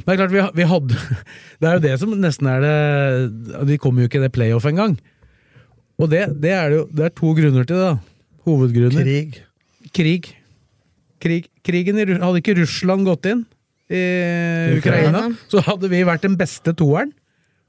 men det er klart, vi, ha- vi hadde *laughs* Det er jo det som nesten er det Vi kom jo ikke i det playoff engang. Og det, det er det jo Det er to grunner til det, da. Hovedgrunner. Krig. Krig. Krig. Krigen i Russland Hadde ikke Russland gått inn i Ukraina. Ukraina, så hadde vi vært den beste toeren.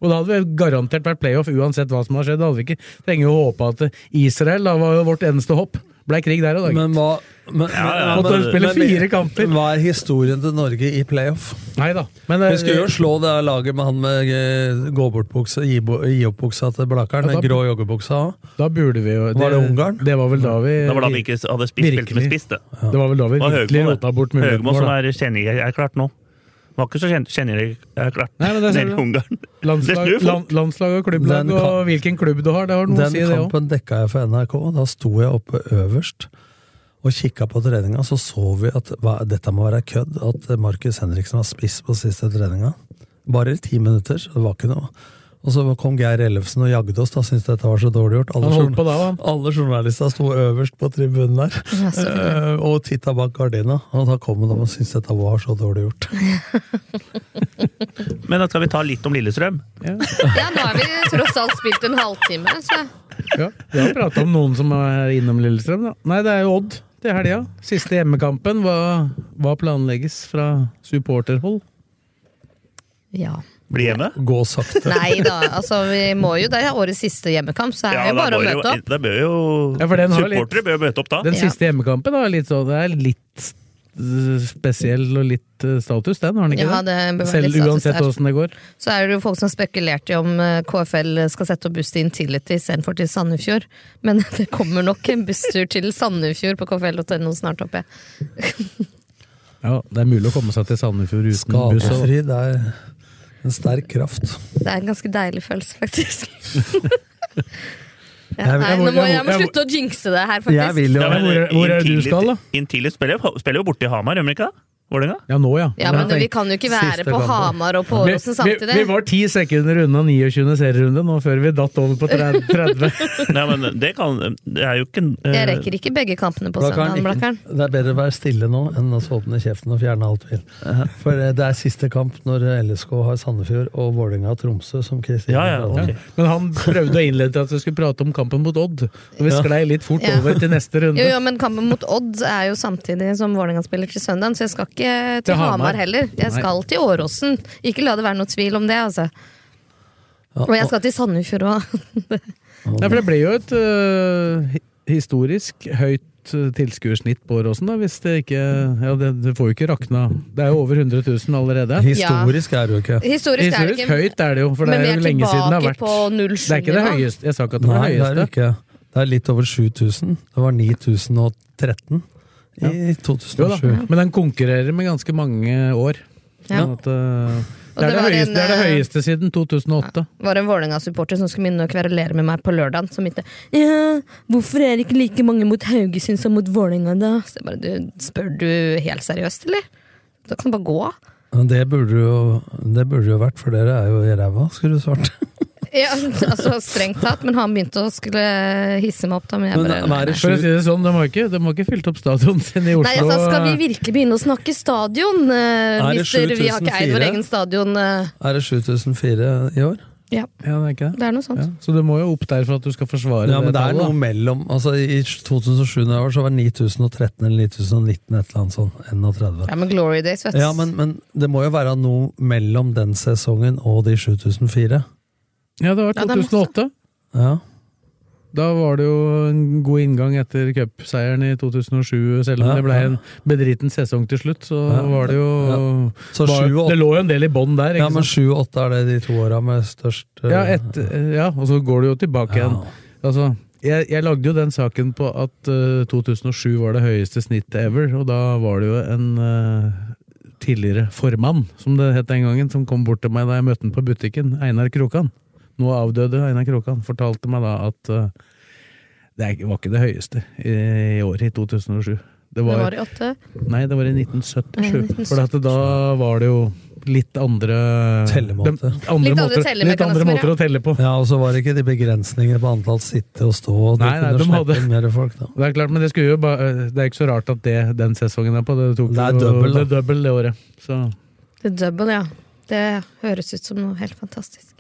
Og da hadde vi garantert vært playoff uansett hva som hadde skjedd. Da hadde vi ikke trenger jo å håpe at Israel da var jo vårt eneste hopp. Blei krig der og da. Men hva men, ja, Måtte de spille fire kamper? Hva er historien til Norge i playoff? Nei da. Men, eh, Vi skulle jo slå det her laget med han med eh, gå-bort-bukse, gi bo- gi opp-buksa til Blakeren, Ja, da- med grå joggebuksa òg. Da burde vi jo Var det Ungarn? Det var vel da vi Det var da vi ikke hadde spist, spilt med spiss, det. Det var vel da vi Og Høgmo, virkelig det. rota bort muligheten Høgmo vår, som da. er kjennerklart nå. Var ikke så kjen- kjennerklart Nei, men det ser nede i du. Ungarn. Det Landslag, snur fort. land, landslag og klubblag Den og hvilken klubb du har, det har noe å Den si, det òg. kampen dekka jeg for NRK, og da sto jeg oppe øverst og kikka på treninga, så så vi at hva, dette må være kødd, at Markus Henriksen var spiss på siste treninga. Bare i ti minutter, så det var ikke noe. Og så kom Geir Ellefsen og jagde oss, da syntes dette var så dårlig gjort. Alle, Han holdt journa- på da, han. alle journalister sto øverst på tribunen der Ja, så hyggelig. eh, og titta bak gardina. Og da kom han og syntes dette var så dårlig gjort. Men da skal vi ta litt om Lillestrøm. Ja, nå har vi tross alt spilt en halvtime, så Ja, Vi har prata om noen som er innom Lillestrøm, da. Nei, det er jo Odd til helga. Siste hjemmekampen. Hva, hva planlegges fra supporterhold? ja. Bli hjemme? Gå sakte. Nei da, altså vi må jo Det er årets siste hjemmekamp, så er det bare å møte opp. Det bør jo Ja, for den har litt- Supportere bør jo møte opp da. Den siste hjemmekampen da, er litt sånn, det er litt eh, spesiell og litt eh, status, den, har den ikke Ja, det bør være litt Selv status uansett der. åssen det går. Så er det jo folk som har spekulert i om eh, KFL skal sette opp buss til Intility istedenfor til Sandefjord. Men *laughs* det kommer nok en busstur til Sandefjord på kfl.no snart, håper jeg. Ja, Det er mulig å komme seg til Sandefjord uten buss. og- Skadefri, det er en sterk kraft. Det er en ganske deilig følelse, faktisk. ja, Jeg- nei, jeg må- jeg må- nå må, jeg må jeg må- slutte å jinxe det her, faktisk. men Hvor er- hvor er du Intility- skal, da? Intility spiller, jo- spiller jo borte i Hamar, gjør de ikke det? Vålerenga? Ja, nå, ja. Ja, men vi kan jo ikke være på Hamar og på Åråsen samtidig. Vi, vi var ti sekunder unna 29. serierunde nå før vi datt over på *laughs* 30. Nei, men det kan Det er jo ikke eh, Jeg rekker ikke begge kampene på søndag, Blakkaren. *laughs* det er bedre å være stille nå enn å så åpne kjeften og fjerne alt vil. For eh, det er siste kamp når eh, LSK har Sandefjord og Vålerenga og Tromsø, som Kristine prater om. Men han prøvde å innlede til at vi skulle prate om kampen mot Odd, og vi Ja. sklei litt fort Ja. over til neste runde. Jo, jo, men kampen mot Odd er jo samtidig som Vålerenga spiller til søndag, så jeg skal ikke til, Til Hamar. Hamar. heller. Jeg Nei. skal til Åråsen. Ikke la det være noe tvil om det, altså. Ja, og jeg skal til Sandefjord òg. Nei, for det ble jo et øh, hi- historisk høyt øh, tilskuersnitt på Åråsen, da, hvis det ikke Ja, det, det får jo ikke rakna. Det er jo over 100 000 allerede. Historisk er det jo ikke. Historisk er det ikke, høyt er det jo, for det men vi er er jo lenge siden det har tilbake vært. på 07-nivå. Det er ikke det høyeste. Jeg sa ikke at det var Nei, det det er det høyeste. ikke. Det er litt over 7000. Det var 9013 i 2007. Jo da, men den konkurrerer med ganske mange år. Ja. Sånn at, øh, Og det, er det det, var en, høyeste, det er det øh, høyeste siden 2008. var en Vålerenga-supporter som skulle begynne å kverulere med meg på lørdagen. Som ikke ja, 'Hvorfor er det ikke like mange mot Haugesund som mot Vålerenga, da?' Så jeg bare, du, Spør du helt seriøst, eller? Da kan du bare gå av. Men Det burde jo, det burde jo vært, for dere er jo i ræva, skulle du svart. Ja, altså strengt tatt, men han begynte å skulle hisse meg opp da, men jeg bare For å si det sånn, de har ikke, de har ikke fylt opp stadion sin i Oslo. Nei, jeg sa, skal vi virkelig begynne å snakke stadion, eh, Er det mister? Vi har ikke eid vår 7004? egen stadion. eh. Er det 7004 i år? Ja, Ja, det er ikke det er noe sånt. Ja, så du må jo opp der for at du skal forsvare Ja, men det er tallet, da. noe mellom altså I 2007 når jeg var, så var det 9013 eller 9019, et eller annet sånt. 31. Ja, men Glory Days, vet du. Ja, men, men det må jo være noe mellom den sesongen og de 7004. Ja, det var Ja, det er masse. 2008. Ja. Da var det jo en god inngang etter cupseieren i 2007, selv om Ja, det ble ja. en bedriten sesong til slutt. Så Ja, var det jo ja. Så var, sju og- Det lå jo en del i bånn der, Ja, ikke men sant? 7 og 8 er det de to åra med størst eh, Ja, et, ja, og så går du jo tilbake igjen. Altså, jeg, jeg lagde jo den saken på at eh, 2007 var det høyeste snittet ever, og da var det jo en eh, tidligere formann, som det het den gangen, som kom bort til meg da jeg møtte han på butikken, Einar Krokan. Nå avdøde Einar Krokan, fortalte meg da at eh, det er ikke- var ikke det høyeste i, i året, i 2007. Det det var, var i åtte. nei, det var i 1977. For at da var det jo litt andre Tellemåte. de- andre Litt måter, andre litt andre tellemekanismer, måter ja. å telle på. Ja, og så var det ikke de begrensningene på antall sitte og stå. Og Nei, nei, de de kunne hadde- slippe inn mer folk da. Det er klart, men det, skulle jo ba, det er ikke så rart at det den sesongen er på. Det, tok Det er jo- dobbelt, da. det, er dobbelt det året. Så, The Double, ja. Det høres ut som noe helt fantastisk.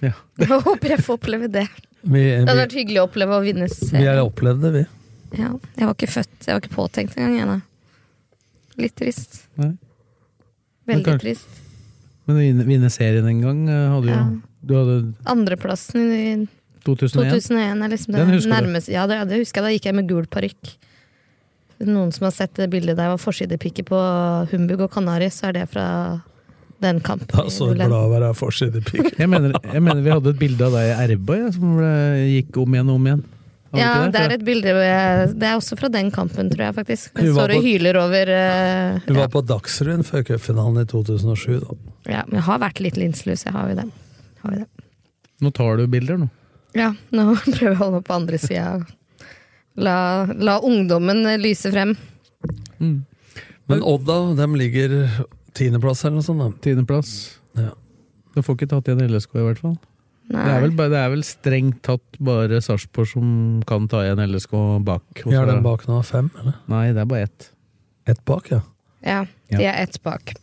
ja. *laughs* Jeg håper jeg får oppleve det. Vi, Det hadde vi, vært hyggelig å oppleve å vi vinne serien. har opplevd det, vi. Ja, jeg var ikke født, jeg var ikke påtenkt engang. Jeg, da. Litt trist. Nei. Men Veldig kanskje- trist. Men å vinne, vinne serien en gang eh, hadde jo Ja. Du hadde Andreplassen i 2001. 2001 er liksom det Den husker du? nærmeste ja, det, ja, det husker jeg. Da gikk jeg med gul parykk. Noen som har sett det bildet der jeg var forsidepikke på Humbug og Kanari, så er det fra den kampen. Da så i glad å Ullern. være forsidepike. Jeg mener, jeg mener vi hadde et bilde av deg i Erba ja, som ble, gikk om igjen og om igjen. Hadde Ja, ikke det er et bilde hvor jeg, Det er også fra den kampen, tror jeg faktisk. Hun Jeg var står på- og hyler over eh, Vi ja. var på Dagsrevyen før cupfinalen i 2007. Da. ja, men Jeg har vært litt linslus, jeg har jo det. Har jo det. Nå tar du bilder, nå. Ja, nå *laughs* prøver jeg å holde meg på andre sida. La, la ungdommen lyse frem. Mm. Men Odda dem ligger tiendeplass eller noe sånt. da. Tiendeplass. Ja. Du får ikke tatt igjen LSK, i hvert fall. Det er, vel, bare- det er vel strengt tatt bare Sarpsborg som kan ta igjen LSK bak. Vi har den bak nå, fem, eller? Nei, det er bare ett. Ett bak, ja. Ja, de er ett bak.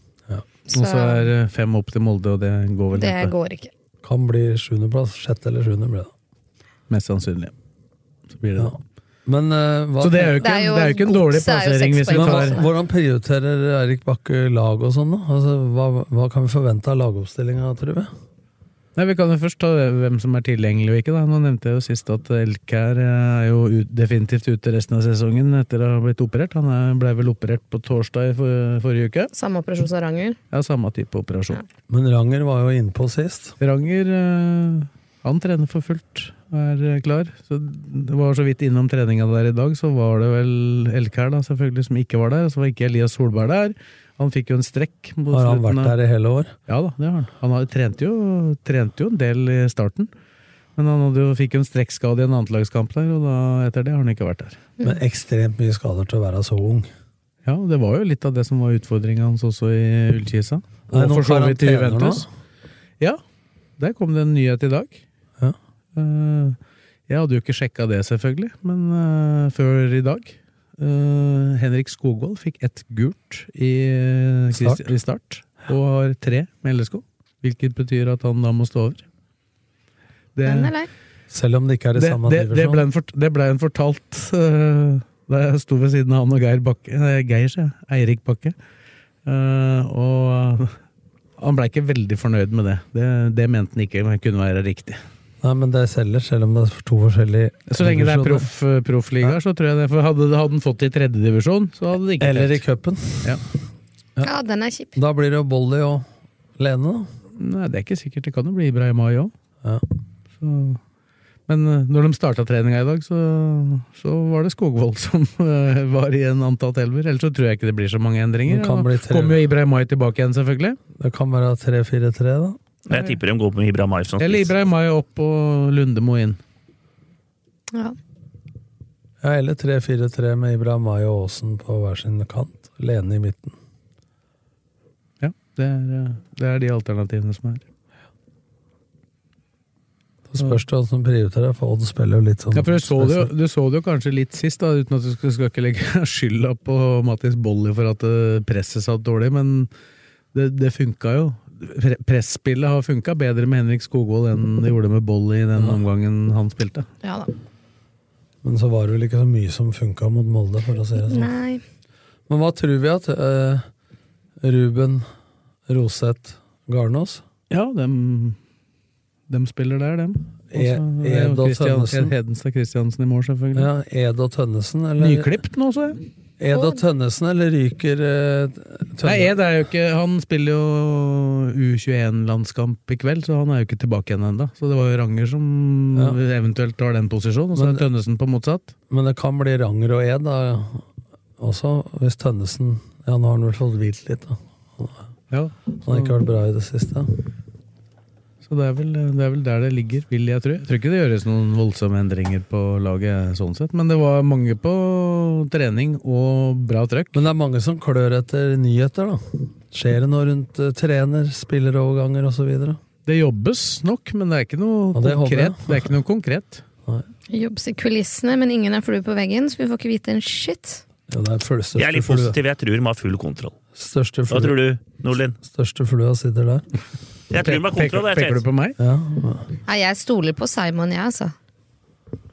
Og så er det fem opp til Molde, og det går vel Det neppe. går ikke. Kan bli sjuendeplass. Sjette eller sjuende ble det. Mest sannsynlig. Så blir det det. Men, eh, hva, Så det er jo ikke- Det er jo- det er jo ikke en dårlig godset er jo plassering seks hvis vi poeng tar- Men hva- Hvordan prioriterer Eirik Bakke lag og sånn, da? Altså, hva, hva kan vi forvente av lagoppstillinga, tror vi? Nei, Vi kan jo først ta hvem som er tilgjengelig og ikke. da. Nå nevnte jeg jo sist at Elkær er jo ut, definitivt ute resten av sesongen etter å ha blitt operert. Han er- ble vel operert på torsdag i for, forrige uke. Samme operasjon som Ranger. Ja, samme type operasjon. Men Ranger var jo innpå sist. Ranger eh, han trener for fullt og er eh, klar. Så det var så vidt innom treninga der i dag, så var det vel Elkær da, selvfølgelig som ikke var der. Og så var ikke Elias Solberg der. Han fikk jo en strekk. mot Har han slutten vært av- der i hele år? Ja da, det har han. Han har, trente, jo, trente jo en del i starten. Men han hadde jo, fikk jo en strekkskade i en annetlagskamp der, og da, etter det har han ikke vært der. Men ekstremt mye skader til å være så ung. Ja, og det var jo litt av det som var utfordringa hans også i Er Ullkisa. det Og noen for så vidt i karantener nå? Juventus. Ja, der kom det en nyhet i dag. Eh, jeg hadde jo ikke sjekka det, selvfølgelig, men eh, før i dag. Eh, Henrik Skogvold fikk ett gult i, eh, Start. i start, og har tre med LSK. Hvilket betyr at han da må stå over. Det- Selv om det ikke er i det, samme det, det, divisjon. ble en fort, det ble en fortalt eh, da jeg sto ved siden av han og Geir Bakke nei, Geir, sier jeg. Eirik Bakke. Eh, og eh, han blei ikke veldig fornøyd med det. Det, det mente han ikke kunne være riktig. Nei, men det selger, selv om det er to forskjellige Så lenge det er divisjoner. proff, proffligaer, så tror jeg det. For hadde, hadde han fått det i tredjedivisjon, så hadde det ikke Eller i skjedd. cupen. Ja. Ja, den er kjip. Da blir det jo Bolly og Lene, da. Nei, det er ikke sikkert. Det kan jo bli Ibrahimai òg. Ja. Men eh, når de starta treninga i dag, så, så var det Skogvold *laughs* som eh, var i en antatt elver. Ellers så tror jeg ikke det blir så mange endringer. Det kan Og bli nå tre- Kommer jo Ibrahimai tilbake igjen, selvfølgelig. Det kan være 3-4-3, da. Jeg tipper de går med Ibra Mai Sånn. som Eller spiss. Ibrahimai opp og Lundemo inn. Ja. Ja, eller 3-4-3 med Ibra Mai og Aasen på hver sin kant. Lene i midten. Ja, det er, eh, det er de alternativene som er. Så spørs det hvem som prioriterer, for Odd spiller jo litt sånn Ja, for du så, det jo, du så det jo kanskje litt sist, da, uten at du skal, skal ikke legge *laughs* skylda på Mattis Bolli for at eh, presset satt dårlig, men det, det funka jo. Pre- Presspillet har funka bedre med Henrik Skogvold enn det gjorde med Bolli i den omgangen han spilte. Ja da. Men så var det vel ikke så mye som funka mot Molde, for å si det sånn. Nei. Men hva tror vi at eh, Ruben, Roseth, Garnås Ja, dem, dem spiller der, dem. Og E- så er jo Ed og Christian- Tønnesen. Hedenstad Christiansen i mål, selvfølgelig. ja, Ed og Tønnesen? Eller, Nyklipt nå, så jeg. Ed og Tønnesen, eller ryker eh, Tønne? Nei, Ed er jo ikke Han spiller jo U21-landskamp i kveld, så han er jo ikke tilbake igjen ennå. Så det var jo Ranger som Ja. eventuelt tar den posisjonen, og så Men- er Tønnesen på motsatt. Men det kan bli Ranger og Ed da, også, hvis Tønnesen Ja, nå har han vel fått hvilt litt, da. Ja. Han har ikke vært bra i det siste. Så det er, vel, det er vel der det ligger, vil jeg tro. Jeg tror ikke det gjøres noen voldsomme endringer på laget sånn sett, men det var mange på trening og bra trøkk. Men det er mange som klør etter nyheter, da. Skjer det noe rundt eh, trener, spilleroverganger osv.? Det jobbes nok, men det er ikke noe Ja, det håper jeg. konkret. Det er ikke noe konkret. Jobbes i kulissene, men ingen er flue på veggen, så vi får ikke vite en shit. Ja, det er full- største Jeg er litt flua. positiv. Jeg tror de har full kontroll. Største Hva tror flua, du, Nordlin? største flua sitter *laughs* der. Jeg tror de har Peker, kontroll. jeg peker tror. du på meg? Ja. Nei, jeg stoler på Simon, jeg, altså.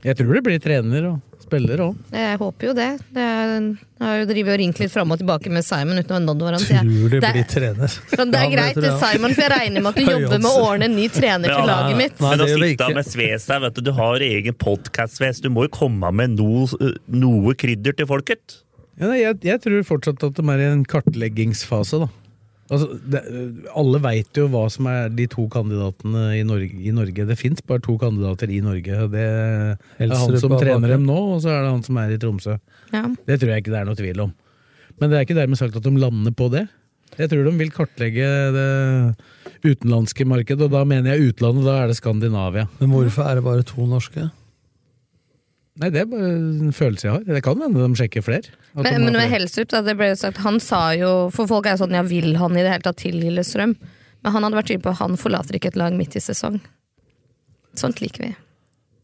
Jeg tror det blir trener og spiller òg. Jeg håper jo det. Det er- Jeg har jo drevet og ringt litt fram og tilbake med Simon uten å ha nådd hverandre. så jeg- Tror det Det er- blir trener. *laughs* Men det er Ja, men greit, tror det, jeg. Simon, for jeg regner med at du Høy jobber med å odds. ordne en ny trener til Ja, laget nei, mitt. nei. Men å det gjør vi sitte ikke. med sves her, vet du. Du har egen podkast-sves. Du må jo komme med noe, noe krydder til folket. Ja, nei, jeg, jeg tror fortsatt at de er i en kartleggingsfase, da. Altså, det, alle veit jo hva som er de to kandidatene i Norge. I Norge. Det fins bare to kandidater i Norge. og Det er han Helserud som på Aker. trener dem nå, og så er det han som er i Tromsø. Ja. Det tror jeg ikke det er noe tvil om. Men det er ikke dermed sagt at de lander på det. Jeg tror de vil kartlegge det utenlandske markedet, og da mener jeg utlandet, da er det Skandinavia. Men hvorfor er det bare to norske? Nei, det er bare en følelse jeg har. Det kan hende de sjekker flere. At de Men, har men med flere. Helsup, da, det ble jo sagt, han sa jo For folk er jo sånn, ja, vil han i det hele tatt til Lillestrøm? Men han hadde vært tydelig på at han forlater ikke et lag midt i sesong. Sånt liker vi.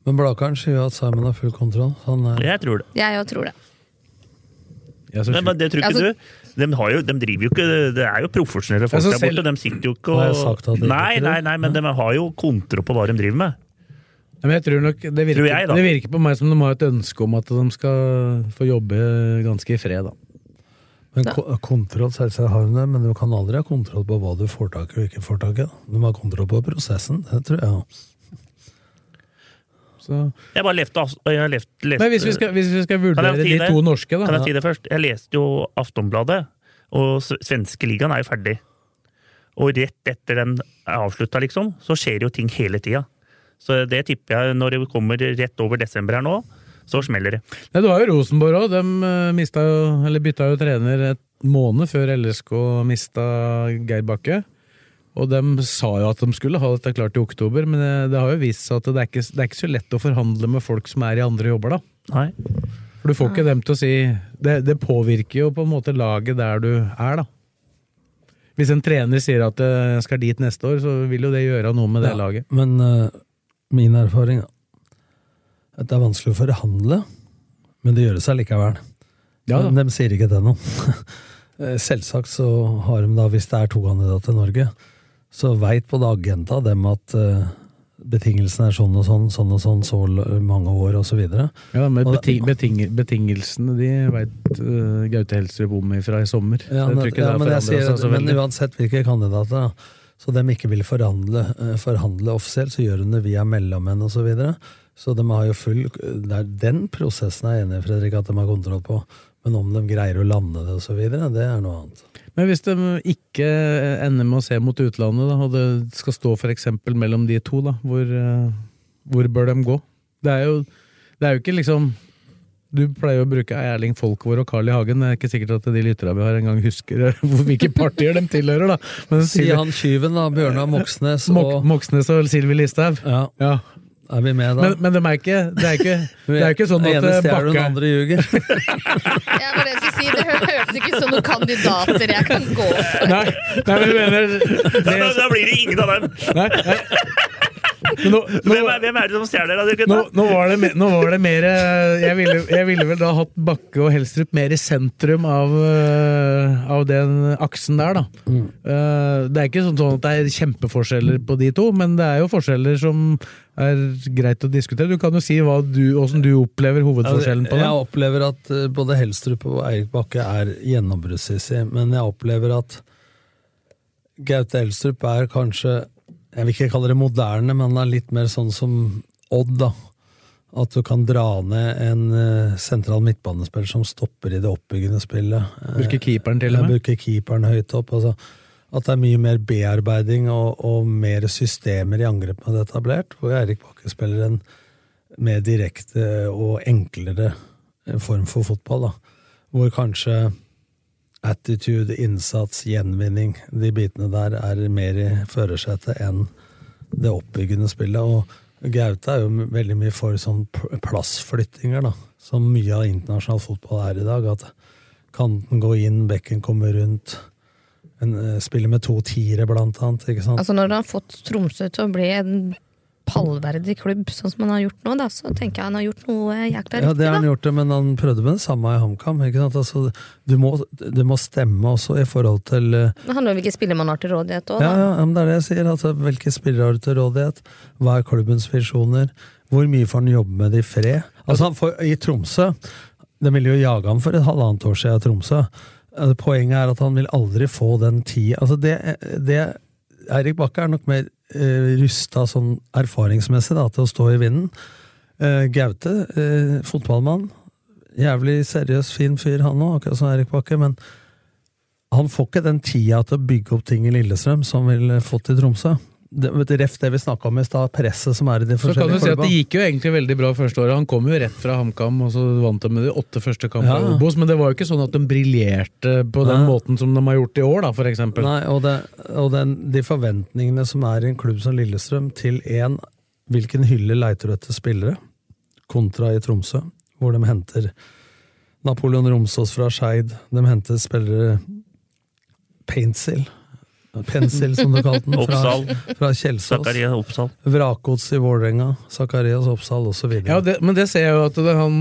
Men Blakeren sier jo at Simon har full kontroll. så Han er... Jeg tror det. Jeg òg tror det. Men, men det tror ikke Altså- du. De, har jo, de driver jo ikke Det er jo profesjonelle folk Altså, der selv- borte. De sitter jo ikke Har jeg og sagt at de Nei, ikke nei, nei, men de har jo kontro på hva de driver med. Ja, Men jeg tror nok, det virker, Tror jeg, da. det virker på meg som de har et ønske om at de skal få jobbe ganske i fred, da. Men ko kontroll, selvsagt har hun det, men du kan aldri ha kontroll på hva du får tak i og ikke får tak i. Du må ha kontroll på prosessen, det tror jeg. også. Jeg bare levde av- jeg har levd- lest- Men hvis vi skal, hvis vi skal vurdere Kan jeg si de det? to norske, da Kan jeg si det først? Jeg leste jo Aftonbladet, og s- svenske ligaen er jo ferdig. Og rett etter den er avslutta, liksom, så skjer jo ting hele tida. Så det tipper jeg når det kommer rett over desember her nå, så smeller det. Nei, Du har jo Rosenborg òg. De eh, mista jo, eller bytta jo trener et måned før LSK mista Geir Bakke. Og de sa jo at de skulle ha dette klart i oktober, men det, det har jo vist seg at det er, ikke, det er ikke så lett å forhandle med folk som er i andre jobber, da. Nei. For du får ikke dem til å si Det, det påvirker jo på en måte laget der du er, da. Hvis en trener sier at eh, jeg skal dit neste år, så vil jo det gjøre noe med det Ja, laget. Men eh, min erfaring er at det er vanskelig å forhandle, men det gjøres allikevel. Ja, da. men de sier ikke det nå. *laughs* Eh, Selvsagt så har de da, hvis det er to kandidater til Norge, så veit både agenta og dem at eh, betingelsene er sånn og sånn, sånn og sånn, så l- mange år, og så videre. Ja, men Og- beti beting betingelsene de veit eh, Gaute Helstrup om ifra i sommer. Ja, Så men, jeg tror ikke ja, det har men, jeg forandret sier, seg så men veldig. uansett hvilke kandidater, da, så de ikke vil forhandle, eh, forhandle offisielt, så gjør de det via mellommenn osv. Så, videre. så de har jo full det er Den prosessen er jeg enig i, Fredrik, at de har kontroll på. Men om de greier å lande det osv., det er noe annet. Men hvis de ikke eh, ender med å se mot utlandet, da, og det skal stå for eksempel mellom de to, da, hvor, eh, hvor bør de gå? Det er jo, det er jo ikke liksom du pleier å bruke Erling Folkvår og Carl I. Hagen. Det er ikke sikkert at de lytterne vi har engang husker eh, *laughs* hvor- hvilke partier de tilhører. da. Men Sier Sylvi han tyven, da. Bjørnar Moxnes Eh, Mok og Moxnes og Sylvi Listhaug. ja, Ja. Er vi med, da? Men, men de er ikke, det er *laughs* ikke, det er ikke sånn Den at ene eh, stjeler, den Bakke andre ljuger. *laughs* Ja, for det, jeg skulle si, det hø- hørtes ikke ut som noen kandidater jeg kan gå for. Nei, nei, men jeg mener *laughs* Da, det, da blir det ingen av dem! nei, nei. Men nå, *laughs* Hvem nå, er, hvem er det som stjeler? da, dere nå, gutta? nå, var det, me- nå var det mer eh, jeg ville, jeg ville vel da hatt Bakke og Helstrup mer i sentrum av, eh, av den aksen der, da. Eh, Det er ikke sånn sånn at det er kjempeforskjeller på de to, men det er jo forskjeller som er greit å diskutere. Du kan jo si hva du, hvordan du opplever hovedforskjellen på Jeg dem. opplever at eh, både Helstrup og Eirik Bakke er gjennombruddssissy, men jeg opplever at Gaute Helstrup er kanskje Jeg vil ikke kalle det moderne, men han er litt mer sånn som Odd, da. At du kan dra ned en eh, sentral midtbanespiller som stopper i det oppbyggende spillet. Eh, Bruker keeperen til jeg og med. bruker keeperen høyt opp. Altså, at det er mye mer bearbeiding og, og mer systemer i angrep med det etablert, hvor Eirik Bakke spiller en mer direkte og enklere form for fotball. da. Hvor kanskje attitude, innsats, gjenvinning, de bitene der er mer i førersetet enn det oppbyggende spillet. Og Gaute er jo veldig mye for sånn pl- plassflyttinger, da. Som mye av internasjonal fotball er i dag. At kanten går inn, bekken kommer rundt. En, eh, spiller med to tiere, blant annet. Ikke sant? Altså Når han har fått Tromsø til å bli en pallverdig klubb, sånn som han har gjort nå, da, så tenker jeg han har gjort noe jækla Ja, det riktig. har han da. gjort, det, men han prøvde med det samme i HamKam. ikke sant? Altså, du, må, du må stemme også i forhold til eh, Det handler om hvilke spillere man har til rådighet òg. Ja, ja, ja, men det er det jeg sier. Altså, hvilke spillere har du til rådighet? Hva er klubbens visjoner? Hvor mye får han jobbe med det i fred? Altså, han får, I Tromsø De ville jo jage ham for et halvannet år siden i Tromsø. Eh, Poenget er at han vil aldri få den tid altså, det, det, Eirik Bakke er nok mer eh, rusta sånn erfaringsmessig da, til å stå i vinden. Eh, Gaute, eh, fotballmann. Jævlig seriøs, fin fyr, han òg, akkurat som Eirik Bakke. men han får ikke den tida til å bygge opp ting i Lillestrøm som han ville fått i Tromsø. Det, vet du, ref det vi snakka om i stad, presset som er i de Så kan forskjellige du si at Det klubba. gikk jo egentlig veldig bra første året. Han kom jo rett fra HamKam, og så vant de med de åtte første kampene. Ja. i Obos, Men det var jo ikke sånn at de briljerte på den Nei. måten som de har gjort i år, da, for eksempel. Nei, og, det, og den, de forventningene som er i en klubb som Lillestrøm, til én Hvilken hylle leiter du etter spillere? Kontra i Tromsø, hvor de henter Napoleon Romsås fra Skeid. De henter spillere Paintsil Pensel, som du *laughs* kalte den, fra, Oppsal. fra Kjelsås. Zakaria Oppsal. Vrakgods i Vålerenga, Zakarias Oppsal osv. Ja, det, men det ser jeg jo at det er han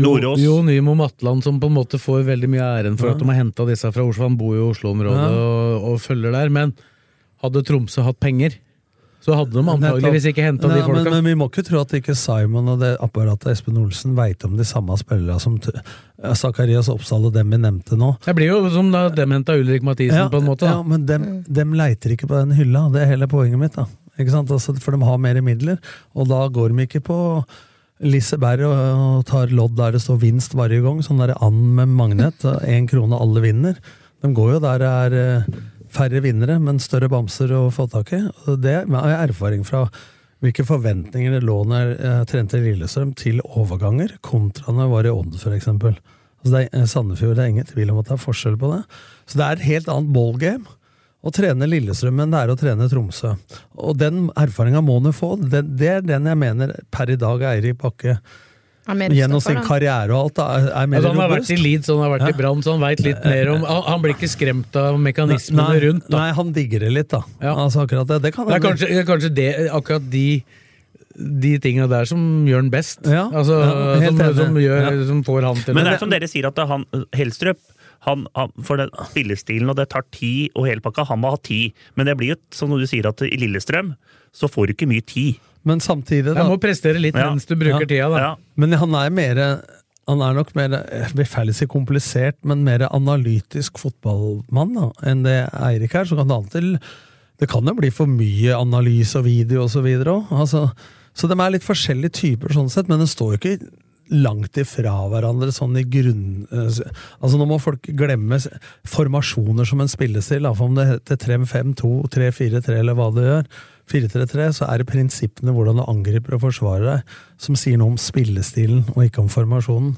Jo, Nordås. jo Nymo Matland som på en måte får veldig mye æren for Ja. at de har henta disse fra Oslo. Han bor jo i Oslo-området Ja. og, og følger der. Men hadde Tromsø hatt penger, så hadde de antageligvis ikke henta de Nei, folka. Men, men vi må ikke tro at ikke Simon og det apparatet Espen Olsen veit om de samme spillerne som t- Zakarias Oppsal og dem vi nevnte nå. det blir jo som da dem henta Ulrik Mathisen, på en måte. ja, Da. men dem, dem leiter ikke på den hylla, det er hele poenget mitt. da. Ikke sant? Altså, for de har mer midler, og da går de ikke på Liseberg og, og tar lodd der det står vinst hver gang, sånn der and med magnet, én krone alle vinner. De går jo der det er eh, færre vinnere, men større bamser å få tak i. Og Det har jeg erfaring fra. Hvilke forventninger det lå når jeg trente i Lillestrøm til overganger, kontra når jeg var i Odd, f.eks. Altså det er, Sandefjord det er ingen tvil om at det er forskjell på det. Så det er et helt annet ballgame å trene Lillestrøm enn det er å trene Tromsø. Og den erfaringa må du få. Det, det er den jeg mener per i dag er Eirik Bakke. Er mer Gjennom utenfor, sin da. karriere og alt da, er, er mer Altså, han har vært robust. Eh, i Leeds og han har vært i Brann, så han veit litt mer om Han, han blir ikke skremt av mekanismene Nei, rundt. Da. Nei, han digger det litt, da. Altså akkurat det. Det kan Det er hende. kanskje, det er kanskje det, akkurat de de tinga der som gjør han best. Ja, altså, ja, helt som, enig. som, gjør, Ja. som får han til Men det er som dere sier, at det er han Hellstrøp han, han, For den spillestilen, og det tar tid, og hele pakka, han må ha tid. Men det blir jo, som du sier, at i Lillestrøm så får du ikke mye tid. Men samtidig, da Jeg må prestere litt Ja. mens du bruker tida, da. Men han er mer han er nok mer jeg vil færre si komplisert, men mer analytisk fotballmann da, enn det Eirik er. Så kan det alltid Det kan jo bli for mye analyse og video osv. Så, videre også. altså, så de er litt forskjellige typer, sånn sett, men de står jo ikke langt ifra hverandre sånn i grunn... eh, s- Altså Nå må folk glemme s- formasjoner som en spillestil. da, for Om det heter 3-5-2, 3-4-3 eller hva det gjør, 4-3-3, så er det prinsippene hvordan du angriper og forsvarer deg, som sier noe om spillestilen og ikke om formasjonen.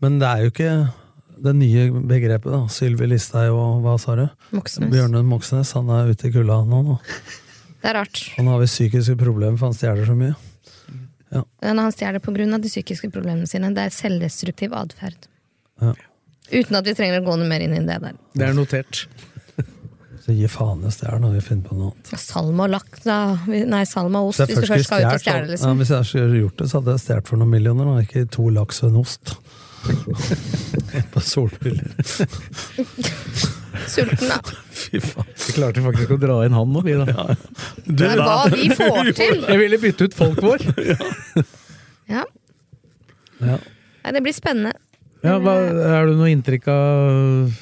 Men det er jo ikke det nye begrepet. da, Sylvi Listhaug og hva sa du? Moxnes. Bjørnar Moxnes. Han er ute i kulda nå. nå. Det er rart. Han har visst psykiske problemer, for han stjeler så mye. Ja, Når han stjeler pga. de psykiske problemene sine. Det er selvdestruktiv atferd. Ja. Uten at vi trenger å gå noe mer inn i det der. Det er notert. Så gi faen i stjernen når vi finner på noe annet. Salma og laks, da. Vi- Nei, salma og ost. Så jeg Hvis du først skal ut og stjert, stjele, så- liksom. Ja, hvis jeg skulle gjort det, så hadde jeg stjålet for noen millioner, da. ikke to laks og en *laughs* ost. på solbriller. Sulten, da. Fy faen. Vi klarte faktisk å dra inn han nå, vi, da. Det er hva vi får til! *laughs* Jeg ville bytte ut folk vår. Ja. Ja. Nei, det blir spennende. Ja, hva, er du noe inntrykk av eh,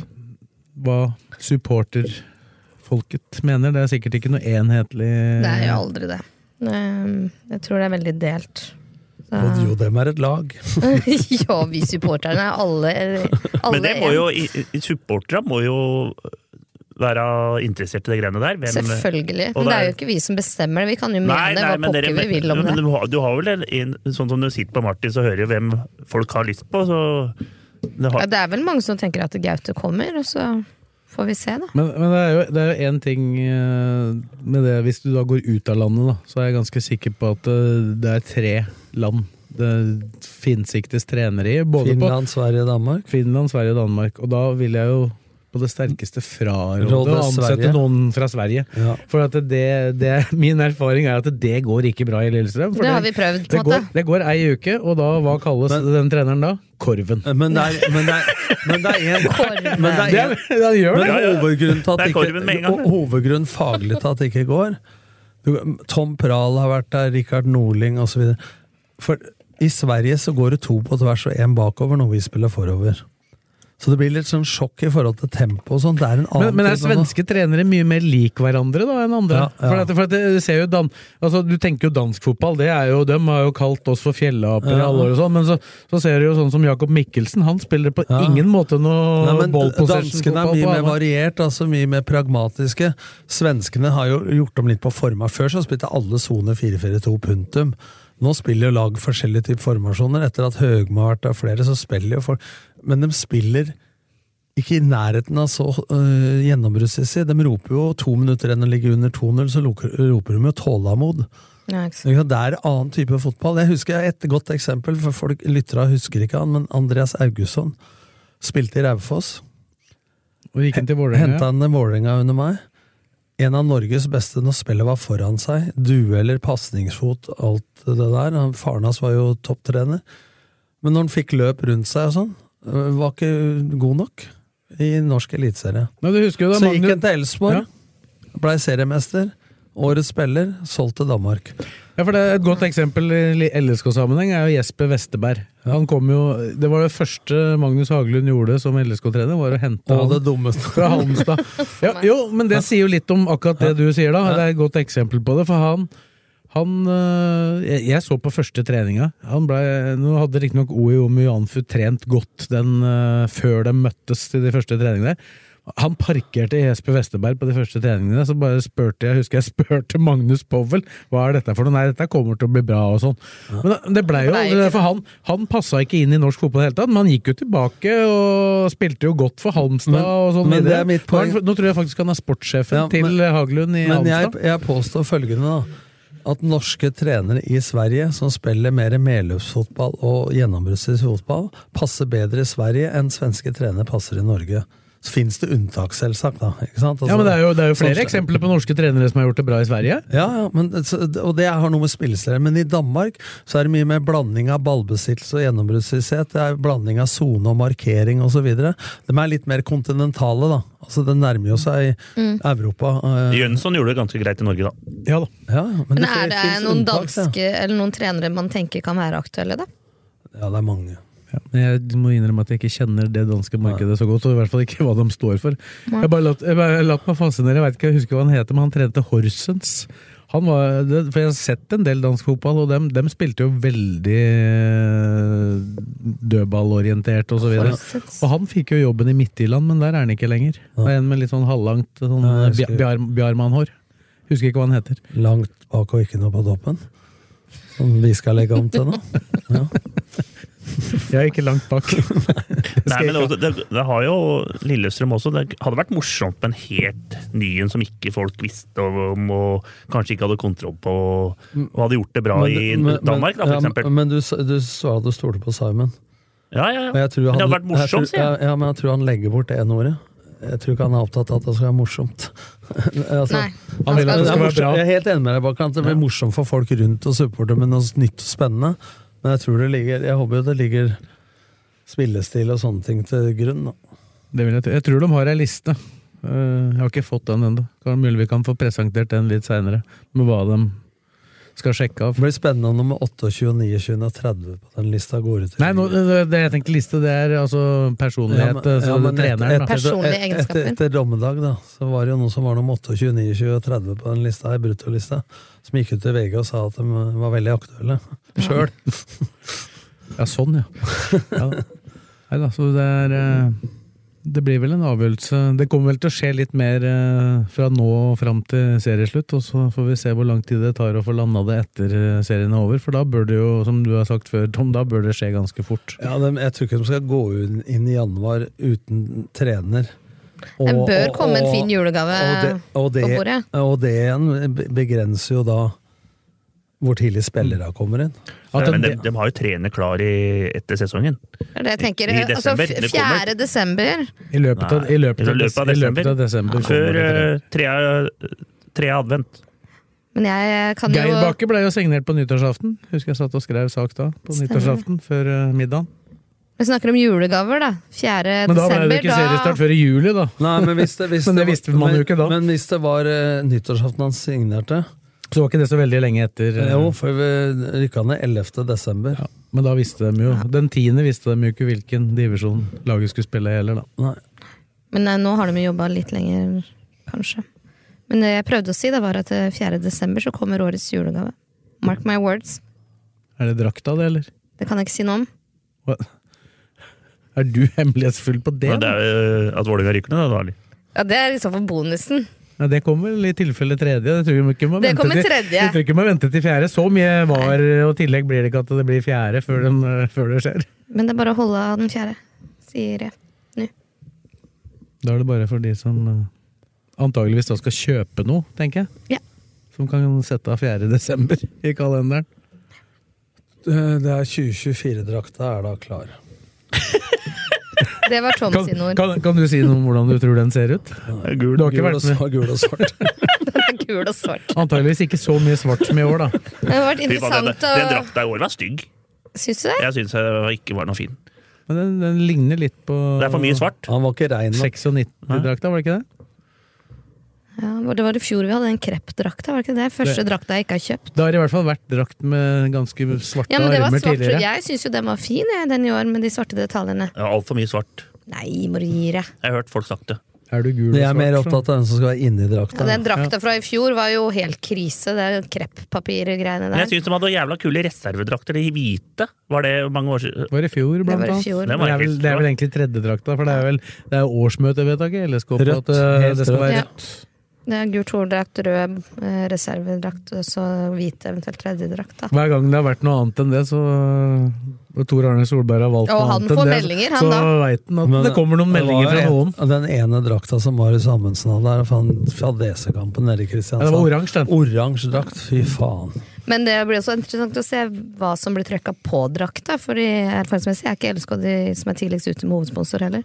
hva supporterfolket mener? Det er sikkert ikke noe enhetlig Det er jo aldri det. Um, Jeg tror det er veldig delt. Og jo, Så- dem er et lag. *laughs* ja, vi supporterne er alle, alle Men det må en. jo, i- i- supporterne må jo være interessert i de greiene der. Hvem- Selvfølgelig. og Men det er jo det ikke vi som bestemmer det. Vi kan jo mene Nei, nei, hva men pokker dere, vi vil om men det. du har- du har vel en, en- sånn som du sitter på Martin, så hører du hvem folk har lyst på, så det har, Ja, det er vel mange som tenker at Gaute kommer, og så får vi se, da. Men, men det er jo- det er jo én ting eh, med det Hvis du da går ut av landet, da, så er jeg ganske sikker på at eh, det er tre land det finsiktes trenere i. Både på Finland, Sverige, Danmark. Finland, Sverige og Danmark. Og da vil jeg jo på det sterkeste fraråde Råde å ansette Sverige. noen fra Sverige. Ja. For at det, det, *laughs* min erfaring er at det går ikke bra i Lillestrøm. For Det har vi prøvd, på det, en går, måte. det går ei uke, og da hva kalles den treneren da? Korven. Eh, Men det er men det er- men det er en- Korven. men det Det, er en- er- det gjør men det! hovedgrunnen til at Det er ikke- korven med en gang. ho- hovedgrunnen faglig til at det ikke går Du- Tom Prahl har vært der, Rikard Norling osv. For i Sverige så går det to på tvers og én bakover når vi spiller forover. Så det blir litt sånn sjokk i forhold til tempo og sånn. Det er en annen Men, men er type nå. svenske trenere mye mer lik hverandre da enn andre? Ja, ja. For, at, for at det- du ser jo dan, altså, Du tenker jo dansk fotball, det er jo, dem har jo kalt oss for fjellaper i Ja. alle år og sånn, men så, så ser du jo sånn som Jakob Mikkelsen, han spiller på Ja. ingen måte noe Nei, men ball possession Danskene er mye mer variert, altså mye mer pragmatiske. Svenskene har jo gjort om litt på forma. Før så spilte alle soner 4-4-2, punktum. Nå spiller jo lag forskjellige typer formasjoner. Etter at Høgmo har vært der flere, så spiller jo folk Men de spiller ikke i nærheten av så øh, gjennombruddssissig. De roper jo to minutter enn å ligge under 2-0, så loker- roper de jo tålamod. Ja, ikke sant. Ikke sant? Det er en annen type fotball. Jeg husker jeg har et godt eksempel, for folk lyttere husker ikke han, men Andreas Augusson spilte i Raufoss. Og gikk inn til Vålerenga. Henta han til Vålerenga under meg. en av Norges beste når spillet var foran seg. Dueller, pasningsfot, alt det der. Han- Faren hans var jo topptrener. Men når han fikk løp rundt seg og sånn, øh, var ikke god nok i norsk eliteserie. Nei, du husker jo da Så gikk Magnus- han til Elsborg, blei seriemester, årets spiller, solgt til Danmark. Ja, for det er Et godt eksempel i LSK-sammenheng er jo Jesper Westerberg. Han kom jo, Det var det første Magnus Hagelund gjorde som LSK-trener, var å hente Og han det dummeste. fra Halmstad. Ja, jo, men det sier jo litt om akkurat det du sier, da. Det er et godt eksempel på det. For han, han øh, Jeg jeg så på første treninga. Han ble, nå hadde riktignok OI og Myanfu trent godt den, øh, før de møttes til de første treningene. Han parkerte Jesper Westerberg på de første treningene, så bare spurte jeg husker jeg spurte Magnus Powell hva er dette for noe. Nei, dette kommer til å bli bra og sånn. Men det blei jo Det ble aldri det, for han, han passa ikke inn i norsk fotball i det hele tatt, men han gikk jo tilbake og spilte jo godt for Halmstad Men- og sånn. men det videre. er mitt Nå er han- poeng. Nå tror jeg faktisk han er sportssjefen Ja, men- til Haglund i Men jeg, Halmstad. jeg påstår følgende, da. At norske trenere i Sverige, som spiller mer medløpsfotball og gjennombruddsfotball, passer bedre i Sverige enn svenske trenere passer i Norge. Så fins det unntak, selvsagt. da, ikke sant? ja, men det er jo, det er jo flere Sånn- eksempler på norske trenere som har gjort det bra i Sverige. Ja, ja men, så- og det har noe med spillestilen Men i Danmark så er det mye mer blanding av ballbesittelse og gjennombruddsvishet. Det er blanding av sone og markering osv. De er litt mer kontinentale, da. Altså, Det nærmer jo seg Mm. Europa. eh, Jønsson gjorde det ganske greit i Norge, da. Ja da. men Men det er det finnes noen unntak, ja. danske eller noen trenere man tenker kan være aktuelle, da? Ja, det er mange. Men jeg må innrømme at jeg ikke kjenner det danske markedet så godt, og i hvert fall ikke hva de står for. Nei. Jeg bare latt, jeg bare latt meg fascinere, jeg vet ikke, jeg husker hva han heter, men han trente Horsens. Han var, det- for jeg har sett en del dansk fotball, og dem, dem spilte jo veldig eh, dødballorientert og så videre. Horsens. Og han fikk jo jobben i Midtjylland, men der er han ikke lenger. Det er en med litt sånn halvlangt sånn, Nei, jeg bjar, husker- bjar, Bjarmann-hår. Husker ikke hva han heter. Langt bak og ikke noe på toppen. Som vi skal legge om til nå. Jeg er ikke langt *laughs* bak. Nei, men det, det, det har jo Lillestrøm også. Det hadde vært morsomt med en helt ny en som ikke folk visste om, og kanskje ikke hadde kontroll på, og hadde gjort det bra Men- men- i Danmark, da, ja, for eksempel. Men du, s- du sa du stolte på Simon. Ja, ja, ja. Og jeg tror Men han, det hadde vært morsomt, jeg. sier Tror, jeg. ja, ja, men jeg tror han legger bort det n-ordet. Jeg tror ikke han er opptatt av at det skal være morsomt. *laughs* altså, Nei, altså, Han vil at det skal er være morsomt. bra. Jeg er helt enig med deg, Bakke, at det blir morsomt for folk rundt og supportere med noe nytt og spennende. Men jeg tror det ligger Jeg håper jo det ligger spillestil og sånne ting til grunn. Da. Det vil jeg, tro. jeg tror de har ei liste. Eh, Jeg har ikke fått den ennå. Mulig vi kan få presentert den litt seinere, med hva de skal sjekke av. Det blir spennende om nummer 28, 29 og 30 på den lista går ut. Nei, nå, det det jeg tenkte liste, det er altså personlighet. Ja, men- altså ja, men et- treneren. da. et- et- Etter, etter dommedag da, så var det jo noen som var nummer 28, 29 og 30 på den lista, i bruttolista, som gikk ut til VG og sa at de var veldig aktuelle sjøl. Ja, sånn, ja. ja. Nei da, så det er eh, Det blir vel en avgjørelse. Det kommer vel til å skje litt mer eh, fra nå og fram til serieslutt, og så får vi se hvor lang tid det tar å få landa det etter eh, serien er over. For da bør det jo, som du har sagt før, Tom, da bør det skje ganske fort. *laughs* Ja, de, jeg tror ikke de skal gå inn, inn i januar uten trener. Og- Det bør og- komme en og- fin julegave og det, på og det, bordet. og det igjen begrenser jo da hvor tidlig spillere kommer inn. Nei, men de, de har jo trener klar i, etter sesongen. Det er det jeg tenker. I- i Altså, desember, det 4. desember I løpet av, i løpet Nei, av, des, i løpet av desember. kommer Før det til det. eh, trea, trea advent. Men jeg kan Geir jo Bakke ble jo signert på nyttårsaften. Husker jeg satt og skrev sak da, på Stemmer. nyttårsaften før eh, middagen. Vi snakker om julegaver, da. 4. Men da ble det desember. ikke Da seriestart før i juli, da. Nei, men hvis det, hvis *laughs* Men det var- visste man jo ikke da. Men, men hvis det var eh, nyttårsaften han signerte Så var ikke det så veldig lenge etter. eh, Jo, for vi rykka ned 11. desember. Men da visste de jo Den tiende visste de jo ikke hvilken divisjon laget skulle spille i heller, da. Men eh, nå har de jo jobba litt lenger, kanskje. Men det jeg prøvde å si, da var at eh, 4. desember så kommer årets julegave. Mark my words. Er det drakta, det, eller? Det kan jeg ikke si noe om. Hva? Er du hemmelighetsfull på det? Men det er jo eh, at Vålerenga ryker ned, da. Arli. Ja, Det er i så fall bonusen. Nei, det kommer vel i tilfelle tredje. Det tror jeg ikke må Det vente kommer til, tredje. Jeg tror ikke man venter til fjerde. Så mye var og tillegg blir det ikke at det blir fjerde før, den, eh, før det skjer. Men det er bare å holde av den fjerde, sier jeg. Da er det bare for de som eh, antageligvis da skal kjøpe noe, tenker jeg. Som kan sette av 4. desember i kalenderen. Eh, Det er 2024-drakta er da klar. Det var Tom Kan, sine ord. kan, kan du si noe om hvordan du tror den ser ut? Gul, du har ikke gul og vært med. svar- gul og svart. Gul og svart. Antageligvis ikke så mye svart som i år, da. Det har vært Fy faen, Den, interessant eh. den å drakta i år var stygg. Syns du det? Jeg syns jeg var- ikke var noe fin. Men den, den ligner litt på Det er for mye svart. Han var ikke rein nok. 96-drakta, var det ikke det? Ja, det var i fjor vi hadde den kreppdrakta, var det ikke det? Første drakta jeg ikke har kjøpt. Det har i hvert fall vært drakt med ganske svarte Ja, men det var armer svart. tidligere. Jeg syns jo den var fin, jeg, den i år, med de svarte detaljene. Ja, Altfor mye svart. Nei, må du gi deg. Jeg har hørt folk sagt det. Er du gul og Jeg er mer svart? opptatt av den som skal være inni drakta. Ja, den drakta fra i fjor var jo helt krise, det er jo kreppapirgreiene Men jeg der. syns de hadde jævla kule reservedrakter. De hvite, var det mange år siden? Det var i fjor, blant var i annet. fjor. Det, er vel, det er vel egentlig tredjedrakta, for det er vel det er årsmøtevedtaket i LSK på Rødt, at eh, helt det skal være Ja. rødt. Det er Gult hordrakt, rød eh, reservedrakt, og så hvit eventuelt tredjedrakt. da. Hver gang det har vært noe annet enn det, så og Tor Arne Solberg har valgt Og noe han annet får enn det, meldinger, så- han da. så veit han at Men det kommer noen det var meldinger fra en- noen. Den ene drakta som Marius Amundsen hadde her, faen, fra DC-kampen nede i Ja, Kristiansand. det var oransje, den. Oransje drakt, fy faen. Men det blir også interessant å se hva som blir trøkka på drakta, for erfaringsmessig er ikke LSK de som er tidligst ute med hovedsponsor heller.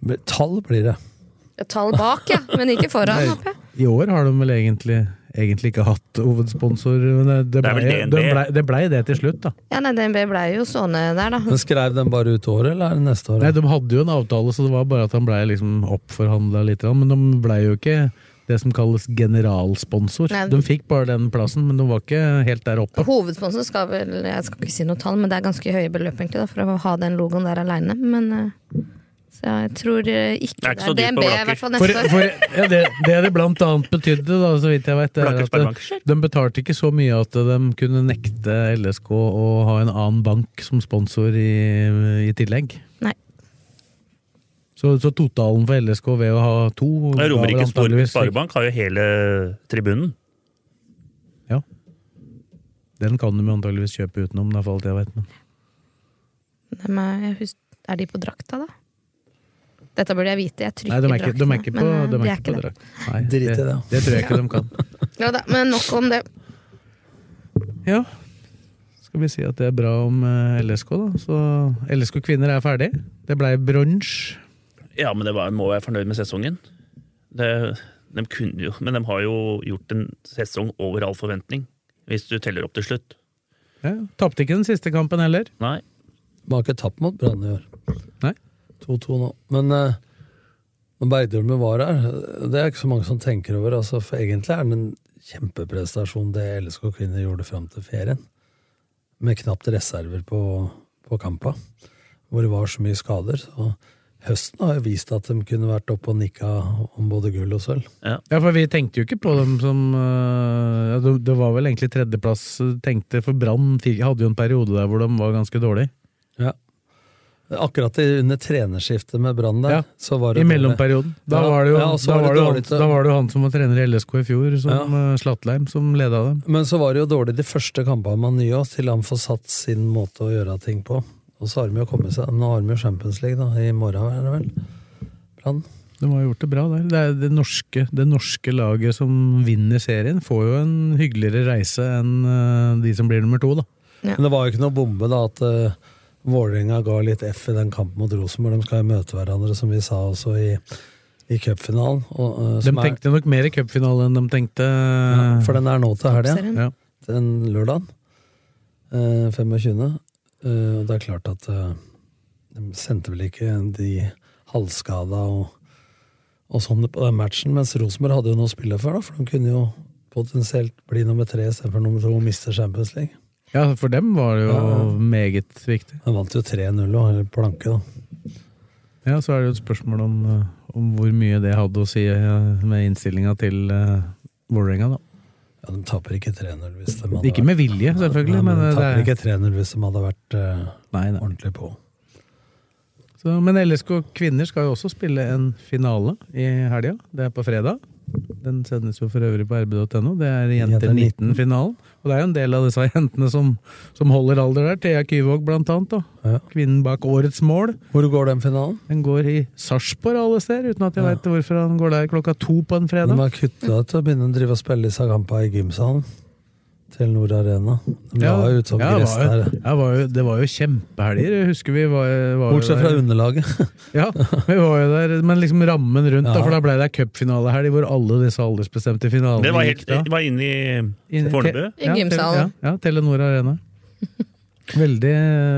Men Tall blir det. Tall bak, ja, men ikke foran. håper jeg. I år har de vel egentlig, egentlig ikke hatt hovedsponsor. Men det, det, Det er blei, vel det, DNB. blei, det blei det til slutt, da. Ja, nei, DNB blei jo stående der, da. Men Skrev den bare ut året, eller er det neste år? Nei, De hadde jo en avtale, så det var bare at han blei liksom oppforhandla litt. Men de blei jo ikke det som kalles generalsponsor. Nei. De fikk bare den plassen, men de var ikke helt der oppe. Hovedsponsor skal vel Jeg skal ikke si noe tall, men det er ganske høye beløp egentlig da, for å ha den logoen der aleine. Men eh, så jeg tror eh, Det er ikke ikke det så dyrt er på DNB, i Blaker. hvert fall For, neste år. for, ja, det, det det blant annet betydde, da, så vidt jeg vet, det er Blaker at de, Sparebank. de betalte ikke så mye at eh, de kunne nekte LSK å ha en annen bank som sponsor i, i tillegg. Nei. Så, så totalen for LSK ved å ha to var vel Romerike Spor- antageligvis- Sparebank har jo hele tribunen. Ja. Den kan de jo antageligvis kjøpe utenom, da, for alt jeg vet. Men. Dem er, jeg hus- er de på drakta, da? Dette burde jeg vite. Nei, Jeg trykker de er ikke, de er draktene, ikke på, men, eh, de de er er ikke på ikke det. drakt. Nei, Drit i det, det. det tror jeg ikke de *laughs* kan. Ja da, men nok om det. Ja. Skal vi si at det er bra om eh, LSK, da. Så LSK kvinner er ferdig. Det blei bronse. Ja, men det var, må være fornøyd med sesongen. Det, de kunne jo, men de har jo gjort en sesong over all forventning, hvis du teller opp til slutt. Ja. Tapte ikke den siste kampen heller. Nei. Man har ikke tapt mot Brann i år. Nei. 2-2 nå. Men eh, når Bergdølmen var her, det er ikke så mange som tenker over. Altså, for egentlig er det en kjempeprestasjon det LSK kvinner gjorde fram til ferien. Med knapt reserver på, på kampa, hvor det var så mye skader. Så høsten har jo vist at de kunne vært oppe og nikka om både gull og sølv. Ja, for vi tenkte jo ikke på dem som eh, ja, det- Det var vel egentlig tredjeplass eh, tenkte, for Brann fikk- hadde jo en periode der hvor de var ganske dårlige. Akkurat i- under trenerskiftet med Brann der, Ja. så var det I dårlig. mellomperioden. Da Ja, var det jo, ja, og så da var det var det jo, han, dårlig til- da var det jo han som var trener i LSK i fjor, som eh, Slatleim, som leda dem. Men så var det jo dårlig de første kampene med nye også, til han får satt sin måte å gjøre ting på. Og så har de jo kommet seg Nå har de jo Champions League, da. I morgen, er det vel? Brann. De har gjort det bra der. Det, er det, norske, det norske laget som vinner serien, får jo en hyggeligere reise enn eh, de som blir nummer to, da. Men det var jo ikke noe bombe, da, at uh, Vålerenga ga litt F i den kampen mot Rosenborg. De skal jo møte hverandre, som vi sa også i, i cupfinalen. og, eh, De som er- tenkte eh, nok mer i cupfinale enn de tenkte Ja, For den er nå til helga. Serien. ja. den lørdagen. eh, 25. eh, Og det er klart at eh, de sendte vel ikke de halvskada og, og sånn på den matchen, mens Rosenborg hadde jo noe å spille for, da, for de kunne jo potensielt bli nummer tre istedenfor nummer to og miste Champions League. ja, for dem var det jo Ja. meget viktig. De vant jo 3-0 og eller planke, da. Ja, så er det jo et spørsmål om, eh, om hvor mye det hadde å si eh, med innstillinga til eh, Vålerenga, da. Ja, de taper ikke 3-0 hvis de hadde Ikke med vilje, Nei, selvfølgelig, men, de eh, taper det er, ikke 3-0 hvis de hadde vært eh, nei, nei. ordentlig på. Så, men LSK kvinner skal jo også spille en finale i helga. Det er på fredag. Den sendes jo for øvrig på rb.no. Det er Jenter Jenter 19-finalen. Og det er jo en del av disse *laughs* jentene som, som holder alder der. Thea Kyvåg blant annet. Da. Ja. Kvinnen bak årets mål. Hvor går den finalen? Den går i Sarpsborg alle steder, uten at jeg vet hvorfor han går der klokka to på en De fredag. har kutta til å begynne å drive og spille disse kampene i gymsalen. Telenor Arena. De la jo ut sånn ja, gress var jo- der. ja, var jo, det var jo kjempehelger. Jeg husker vi var, var jo Bortsett fra der. underlaget. Ja, vi var jo der, men liksom rammen rundt, da, for da ble det cupfinalehelg hvor alle disse aldersbestemte finalene Det var, helt, gikk da. det var inne i Inne i Fornebu. te- ja, Tele- Ja, ja, Telenor Arena. *laughs* Veldig,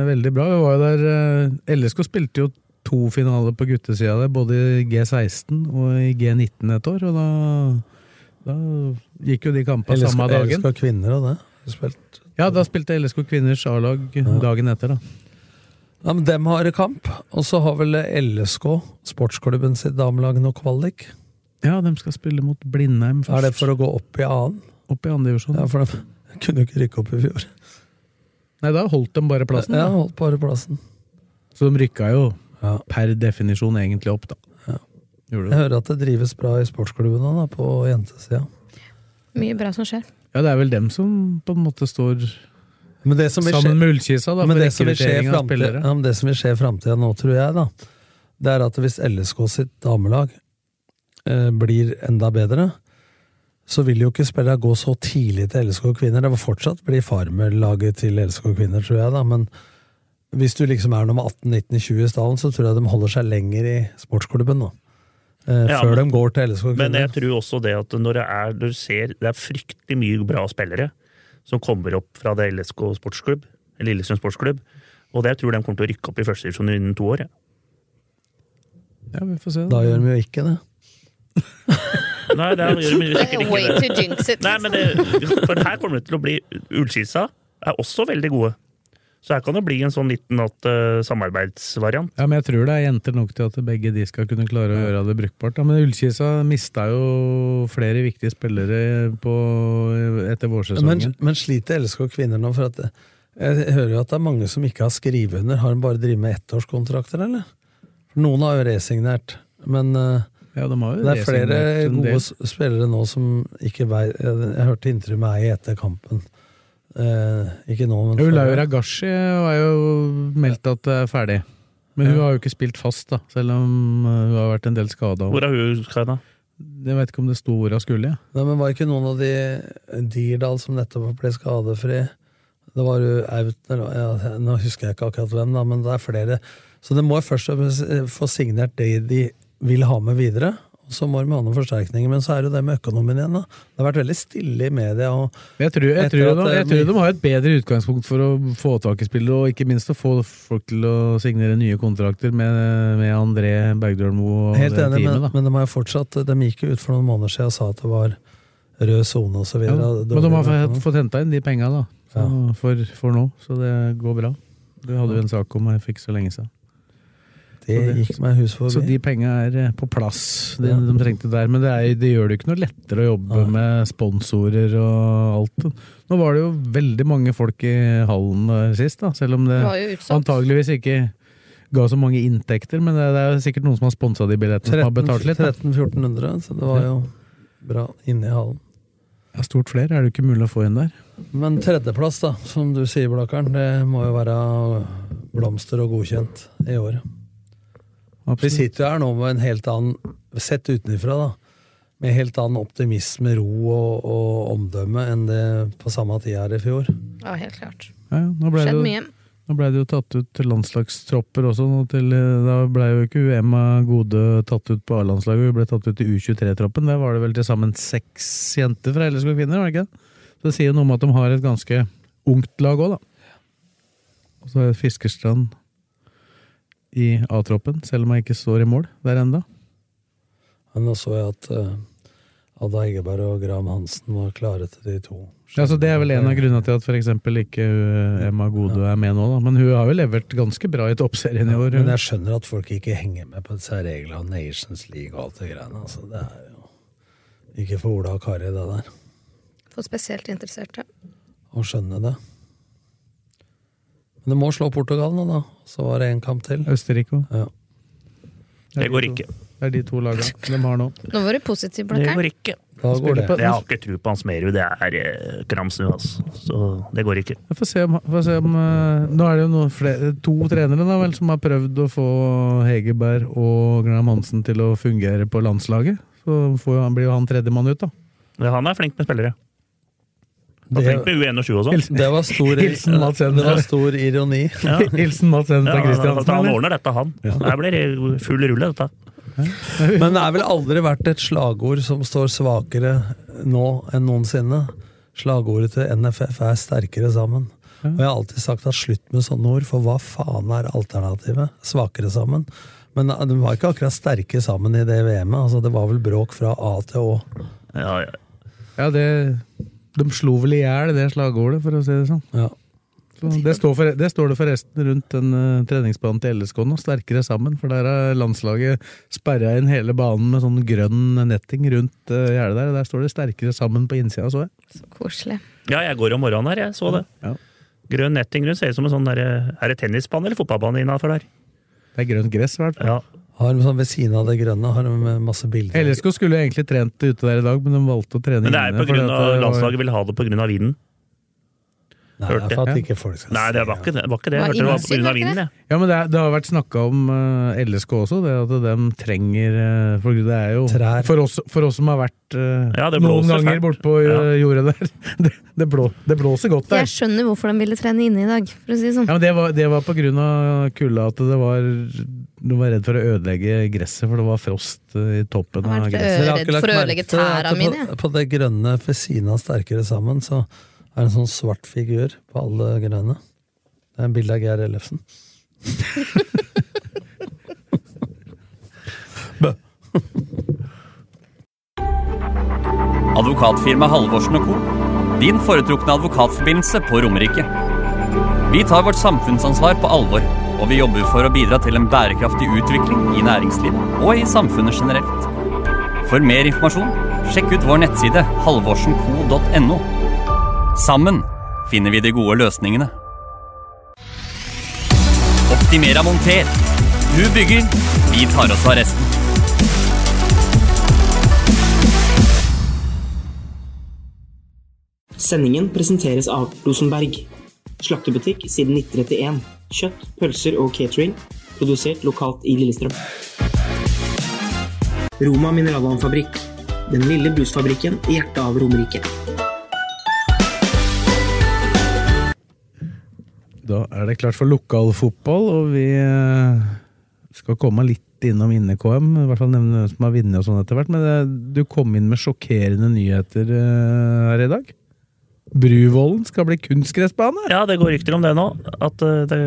veldig bra. Vi var jo der eh, LSK spilte jo to finaler på guttesida der, både i G16 og i G19 et år, og da, da gikk jo de kampene LSK samme dagen. LSK kvinner og det. Har Spilt. Ja, da spilte LSK kvinners A-lag dagen etter, da. Ja, men dem har kamp, og så har vel LSK, sportsklubben sitt damelag, noe kvalik. Ja, de skal spille mot Blindheim først. Er det for å gå opp i annen? Opp i andre divisjon. Ja, for de *laughs* kunne jo ikke rykke opp i fjor. Nei, da holdt de bare plassen. Ja, da. holdt bare plassen. Så de rykka jo per definisjon egentlig opp, da. Gjorde Jeg det. hører at det drives bra i sportsklubben nå, da, på jentesida. Mye bra som skjer. Ja, det er vel dem som på en måte står Men det som vil sammen skje- med Ullkisa, da, men for det som vil skje i rekruttering av fremtiden- spillere. ja, men det som vil skje i framtida nå, tror jeg, da, det er at hvis LSK sitt damelag eh, blir enda bedre, så vil jo ikke spillerne gå så tidlig til LSK kvinner. Det vil fortsatt bli farmerlaget til LSK kvinner, tror jeg, da, men hvis du liksom er nummer 18, 19, 20 i stallen, så tror jeg de holder seg lenger i sportsklubben nå. Eh, Ja, før men- de går til LSK kvinner. Men jeg tror også det at når det er, du ser, det er fryktelig mye bra spillere som kommer opp fra det LSK sportsklubb, Lillesund sportsklubb, og det jeg tror de kommer til å rykke opp i første divisjon innen to år. ja. Ja, vi får se. Da gjør de jo ikke det. Nei, det *laughs* er, gjør de sikkert ikke Way det. to jinx it. Nei, men det, for her kommer det til å bli Ullskisa er også veldig gode. Så her kan det bli en sånn liten at, eh, samarbeidsvariant. Ja, men jeg tror det er jenter nok til at begge de skal kunne klare å gjøre det brukbart. Da. Men Ullkisa mista jo flere viktige spillere på, etter vårsesongen. Men, men sliter LSK kvinner nå? For at jeg, jeg hører jo at det er mange som ikke har skrevet under. Har de bare drevet med ettårskontrakter, eller? For noen har jo resignert. Men eh, ja, de har jo det er flere resignert en gode del. s- spillere nå som ikke vei... Jeg, jeg hørte intervju med ei etter kampen. Eh, ikke nå, men Ulau før. Ragashi har jo meldt at det er ferdig. Men hun Ja. har jo ikke spilt fast, da, selv om eh, hun har vært en del skada. Hvor er hun, Kaina? Jeg vet ikke om det sto hvor hun skulle. Ja. Nei, men var ikke noen av de Dirdal som nettopp ble skadefri? Det var jo Autner og- ja, Nå husker jeg ikke akkurat hvem, da, men det er flere. Så det må først og fremst eh, få signert det de vil ha med videre. og Så må de ha noen forsterkninger. Men så er det jo det med økonomien igjen. da. Det har vært veldig stille i media. og Jeg tror, jeg, Etter at tror eh, de, det- jeg tror de har et bedre utgangspunkt for å få tak i spillere, og ikke minst å få folk til å signere nye kontrakter med, med André Bergdølmo og Helt det enig, teamet. men, Da. men de har jo fortsatt De gikk jo ut for noen måneder siden og sa at det var rød sone osv. Ja, men de har fått, fått henta inn de penga da, så, for, for nå, så det går bra. Det hadde vi en sak om her for ikke så lenge siden. Det så det- gikk meg hus forbi. Så de penga er eh, på plass, det Ja. de trengte der. Men det, er, det gjør det jo ikke noe lettere å jobbe med sponsorer og alt. Nå var det jo veldig mange folk i hallen eh, sist, da, selv om det, Det var jo utsolgt. antageligvis ikke ga så mange inntekter. Men det, det er jo sikkert noen som har sponsa de billettene, som har betalt litt. da. 13-1400, så det var jo bra inne i hallen. Ja, stort flere er det jo ikke mulig å få inn der. Men tredjeplass, da, som du sier, Blakkaren, det må jo være blomster og godkjent i år. Vi Absolutt. sitter jo her nå med en helt annen, sett utenfra, da, med helt annen optimisme, ro og, og omdømme enn det på samme tid her i fjor. Ja, helt klart. Ja, ja, nå ble det Skjedd jo- mye. Nå blei det jo tatt ut landslagstropper også. Nå til, eh, da blei jo ikke Emma Gode tatt ut på A-landslaget, hun ble tatt ut i U23-troppen. Der var det vel til sammen seks jenter fra LSK kvinner, var det ikke? Så det sier jo noe om at de har et ganske ungt lag òg, da. Og så er det Fiskerstrand i A-troppen, selv om jeg ikke står i mål der enda. Men nå så jeg at eh, Ada Eggeberg og Graham Hansen var klare til de to. Ja, så Det er vel en av grunnene til at f.eks. ikke eh, Emma Gode er med nå, da. Men hun har jo levert ganske bra i toppserien i år. Men jeg skjønner at folk ikke henger med på disse reglene og Nations League og alt det greiene. Altså, det er jo ikke for Ola og Kari, det der. For spesielt interesserte. å skjønne det. Men du må slå Portugal nå, da. Så var det én kamp til. Østerrike òg. Ja. Det går ikke. Det er de to lagene de har nå. Nå var du positiv, Det går Blakkaren. ikke. Da går det. Spiller på- Jeg har ikke tro på Hans Merud. Det er eh, kramsnu, altså. Så det går ikke. Jeg får se om, får se om eh, Nå er det jo noen flere, to trenere da vel som har prøvd å få Hegerberg og Graham Hansen til å fungere på landslaget. Så får jo, han- blir jo han tredjemann ut, da. Men Han er flink med spillere. Var flink med U21 og sånn. Det var stor, Hilsen Mats Jensen. det var stor ironi. Ja. *laughs* altså, Hilsen Mats Jensen fra Kristiansen. Han eller? ordner dette, han. Her blir det full rulle, dette. Men det er vel aldri vært et slagord som står svakere nå enn noensinne. Slagordet til NFF er 'sterkere sammen'. Og jeg har alltid sagt at slutt med sånne ord, for hva faen er alternativet? Svakere sammen. Men eh, de var ikke akkurat sterke sammen i det VM-et. Altså, det var vel bråk fra A til Å. Ja, ja. Ja, det, de slo vel i hjel det slagordet, for å si det sånn. Ja. Så det, står for, det står det forresten rundt den eh, treningsbanen til LSK nå, sterkere sammen. For der har landslaget sperra inn hele banen med sånn grønn netting rundt eh, gjerdet der. og Der står det 'sterkere sammen' på innsida, så jeg. Koselig. Ja, jeg går om morgenen her, jeg så det. Ja. Grønn netting rundt ser ut som en sånn der, Er det tennisbane eller fotballbane innafor der? Det er grønt gress, i hvert fall. Ja. Har de sånn ved siden av det grønne har de eh, masse bilder. LSK skulle jo egentlig trent ute der i dag, men de valgte å trene Men det er på fordi grunn at av det var- landslaget vil ha det på grunn av vinden. Nei, det hørte er jeg. for at ikke folk skal Nei, det se. var ikke det. Var ikke det. Var Jeg hørte det var på grunn av innsyn, var det ikke vinden, jeg. Ja, men det, er, det har vært snakka om eh, LSK også, det at de trenger eh, For det er jo Trær. For, oss, for oss som har vært eh, Ja, det noen blåser ganger fælt. bortpå eh, jordet der, *laughs* det, det, blå, det blåser godt Jeg der. skjønner hvorfor de ville trene inne i dag, for å si det sånn. Ja, men det var, det var på grunn av kulda at det var De var redd for å ødelegge gresset, for det var frost eh, i toppen Han av var redd. Dere gresset. har redd ikke lagt for å merke ødelegge til at tæra mine, På, på det grønne ved siden av Sterkere sammen, så er det en sånn svart figur på alle grønne. Det er en bilde av Geir Ellefsen. Advokatfirma Halvorsen og Co. Din foretrukne advokatforbindelse på Romerike. Vi tar vårt samfunnsansvar på alvor, og vi jobber for å bidra til en bærekraftig utvikling i næringslivet og i samfunnet generelt. For mer informasjon, sjekk ut vår nettside halvorsenco.no. Sammen finner vi de gode løsningene. Optimera monter. Du bygger, vi tar oss av resten. Sendingen presenteres av Rosenberg. Slaktebutikk siden 1931. Kjøtt, pølser og catering. Produsert lokalt i Lillestrøm. Roma mineralvannfabrikk. Den lille brusfabrikken i hjertet av Romerike. Da er det klart for lokalfotball, og vi eh, skal komme litt innom Inne-KM. I hvert fall nevne hvem som har vunnet og sånn etter hvert. Men det- du kom inn med sjokkerende nyheter eh, her i dag. Bruvollen skal bli kunstgressbane! Ja, det går rykter om det nå. At eh, det,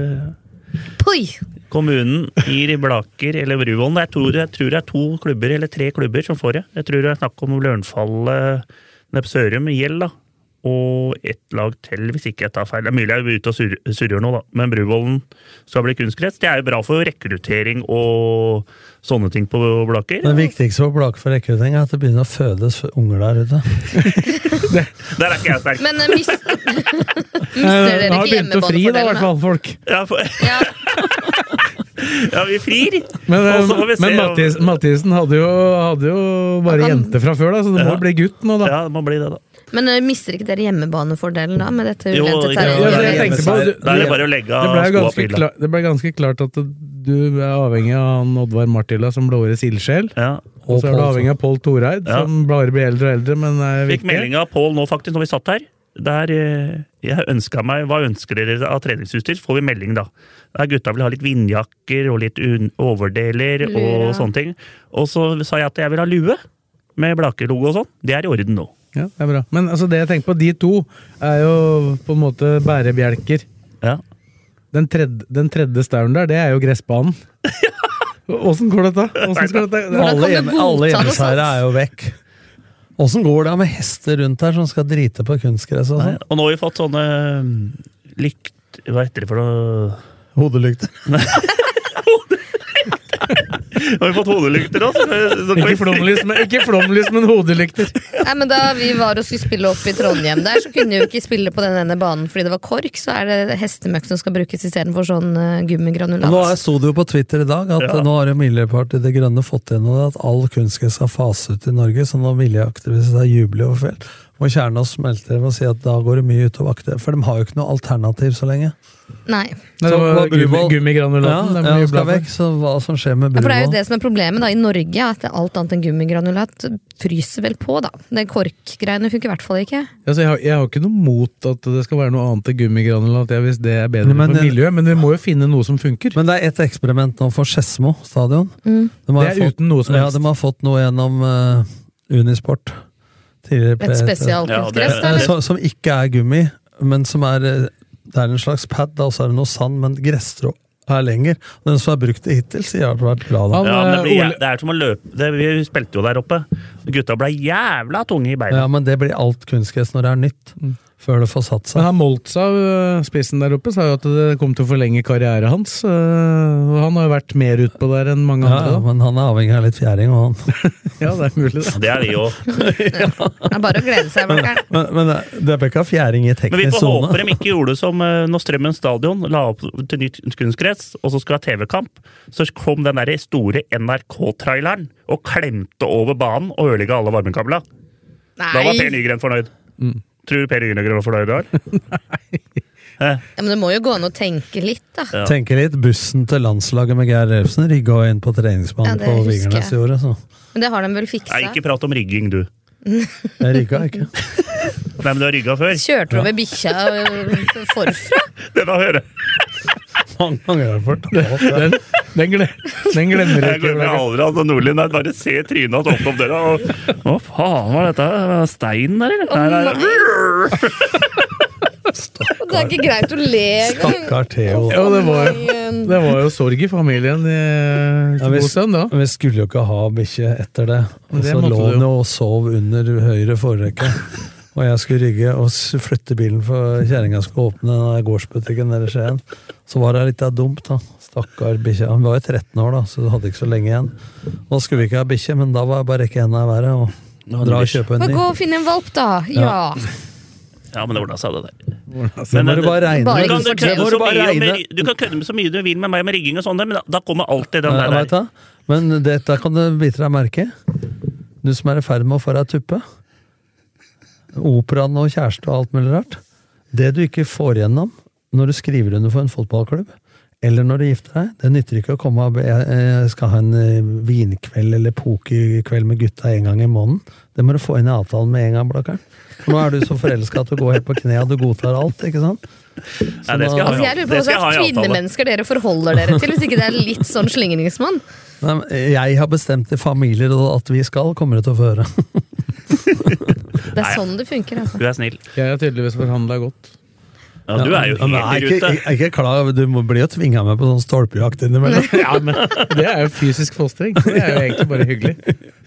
Poi! kommunen gir Blaker eller Bruvollen jeg, tror- jeg tror det er to klubber eller tre klubber som får det. Jeg tror det er snakk om Lørenfallet, nede på Sørum, Gjell, da. Og ett lag til, hvis ikke jeg tar feil. Det er mulig jeg er ute og surrer, surrer nå, da. Men Bruvollen skal bli kunstgress. Det er jo bra for rekruttering og sånne ting på Blaker. Det viktigste på Blake for rekruttering er at det begynner å fødes unger der ute. Der er ikke jeg sterk. Men eh, mis *laughs* *laughs* mister Eh, dere Har ikke begynt å fri, da, i hvert hjemmebanefordelen? da? fall, folk. Ja, for, Ja, ja, vi frir! Men, eh, Og så får vi se men om- Mathis, Mathisen hadde jo, hadde jo bare Han- jente fra før, da, så det må Ja. bli gutt nå, da. Ja, det må bli det, da. men eh, mister ikke dere hjemmebanefordelen da, med dette Jo, ulendte ikke sant. Ja, så jeg terrenget? tenkte på, Da er det bare å legge Det av ble, jo skoa på ganske hylla. klar, det ble ganske klart at du er avhengig av han Oddvar Martila som blåårets ildsjel. Ja. Og så er du Pål, avhengig av Pål Toreid, Ja. som bare blir eldre og eldre, men er Fikk viktig. melding av Pål nå, faktisk, når vi satt her. Der eh, jeg ønsket meg Hva ønsker dere av treningsutstyr? Så får vi melding, da. Der gutta vil ha litt vindjakker og litt un overdeler og Lue, ja. sånne ting. Og så sa jeg at jeg vil ha lue med Blaker-logo og sånn. Det er i orden nå. Ja, det er bra. Men altså, det jeg tenker på, de to er jo på en måte bærebjelker. Ja. Den tredje, den tredje stauen der, det er jo *laughs* gressbanen. Åssen går dette? Hvordan skal dette? Hvordan Alle, kan du hjemme, godta alle noe hjemmeseiere sånt? er jo vekk. Åssen går det med hester rundt her som skal drite på kunstgress og sånn? Og nå har vi fått sånne mm, lykt... Hva heter det for noe? Hodelykter. Nå har vi fått hodelykter òg! *laughs* Ikke flomlys, men, ikke flomlys, men hodelykter. Nei, men Da vi var og skulle spille opp i Trondheim, der, så kunne vi jo ikke spille på den ene banen fordi det var kork. Så er det hestemøkk som skal brukes istedenfor sånn eh, gummigranulat. altså. Nå er- sto det jo på Twitter i dag at Ja. nå har jo Miljøpartiet De Grønne fått gjennom det at all kunstgress skal fase ut i Norge, så nå miljøaktivister jubler over felt. Og kjerna smelter ved å si at da går det mye utover aktivitet. For de har jo ikke noe alternativ så lenge. Nei. Nei, det var hva gummi- Bruvoll- gummigranulaten de Ja, jublet ja, skal for. vekk, så hva som skjer med Ja, for det er jo Bruvoll det som er problemet da, i Norge, at det er alt annet enn gummigranulat fryser vel på, da. Det korkgreiene funker i hvert fall ikke. Altså, jeg, har, jeg har ikke noe mot at det skal være noe annet enn gummigranulat jeg, hvis det er bedre Men for det- miljøet, men vi må jo finne noe som funker. Men det er et eksperiment nå for Skedsmo stadion. Mm. De har Det er jo fått- uten noe som Ja, helst. de har fått noe gjennom eh, Unisport. Tidligere Et PT. spesialkunstgress, Eh, da, eller? som, som ikke er gummi, men som er eh, Det er en slags pad, da, og så er det noe sand, men gresstrå er lenger. Den som har brukt det hittil, sier det har vært bra. Ja, Da. men det, blir, det er som å løpe det, Vi spilte jo der oppe. Gutta ble jævla tunge i beina. Ja, men det blir alt kunstgress når det er nytt. Før det får satt Men seg. han Moltza, øh, spissen der oppe, sa jo at det kom til å forlenge karrieren hans. øh, Og han har jo vært mer utpå der enn mange Ja, ja, andre. men han er avhengig av litt fjæring. Og han. da. Ja, det er mulig, det. Det er vi jo. Det er bare å glede *laughs* seg, Blakkern. Men, men det- det er ikke fjæring Men i vi teknisk får håpe sone. de ikke gjorde som eh, når Strømmen stadion la opp til nytt kunstgress, og så skulle ha TV-kamp. Så kom den der store NRK-traileren og klemte over banen og ødelegga alle varmekabla. Da var Per Nei! Nygren fornøyd. Tror du Per Nygren var fornøyd i dag? Ja, men det må jo gå an å tenke litt, da. Ja. Tenker litt bussen til landslaget med Geir Elfsen rigga inn på Ja, treningsbanen det på husker Vigernes i jeg. året. Så. Men det har de vel Nei, fiksa? ikke prat om rigging, du. Jeg rigga ikke. *laughs* Nei, men du har rigga før. Kjørte du over bikkja øh, forfra? Det da hører jeg. Mange ganger har jeg fortalt det. Den, den, gle, den glemmer du Jeg ikke. glemmer aldri at altså, Nordlien der bare ser trynet hans åpne opp døra og Hva faen var dette? Var det Steinen der, eller? Nei, nei, nei. Det er ikke greit å le *laughs* engang. øh. Stakkar Theo. Ja, det var, Nei, det var jo sorg i familien i Ja, ja, vi- god stund, da. Men Vi skulle jo ikke ha bikkje etter det. Og Det så måtte lå du jo. han jo og sov under høyre *laughs* forrekke. Og jeg skulle rygge og s- flytte bilen, for kjerringa skulle åpne den der gårdsbutikken nede i Skien. Så var det litt der dumt, da. Stakkar bikkja. Han var jo 13 år, da, så du hadde ikke så lenge igjen. Da skulle vi ikke ha bikkje, men da var jeg bare å rekke henda i været og dra og kjøpe en Men gå ny. og finn en valp, da. Ja. Ja, men ordna seg, det der. Så må Men du det- bare regne. Bare Du kan, ikke du, Det fortelle kan, må så du bare mye om- regne. du kan kødde med så mye du vil med meg med rigging og sånn, der, men da- da kommer alltid den Ja, der. Eh, vet du hva? Men dette kan du bite deg merke i. Du som er i ferd med å få deg tuppe. Operaen og kjæreste og alt mulig rart. Det du ikke får igjennom når du skriver under for en fotballklubb, eller når du gifter deg, det nytter ikke å komme og be jeg jeg skal ha en eh, vinkveld eller pokerkveld med gutta en gang i måneden. Det må du få inn i avtalen med en gang, Blakkaren. For nå er du så forelska at du går helt på kne, og du godtar alt, ikke sant? Nei, det skal jeg ha i avtale. Altså, jeg lurer på Det hva skal jeg ha i slags avtale. kvinnemennesker dere forholder dere til, hvis ikke det er litt sånn slingringsmonn. Nei, men eh, jeg har bestemt i familier at vi skal, kommer du til å få høre. Det er sånn det funker, altså. Du er snill. Jeg har tydeligvis forhandla godt. Ja, du er jo Ja, men helt i jeg er ikke- rute. Jeg er ikke klar, du må- blir jo tvinga med på sånn stolpejakt innimellom. Ja, men Det er jo fysisk fostring. Det er jo egentlig bare hyggelig.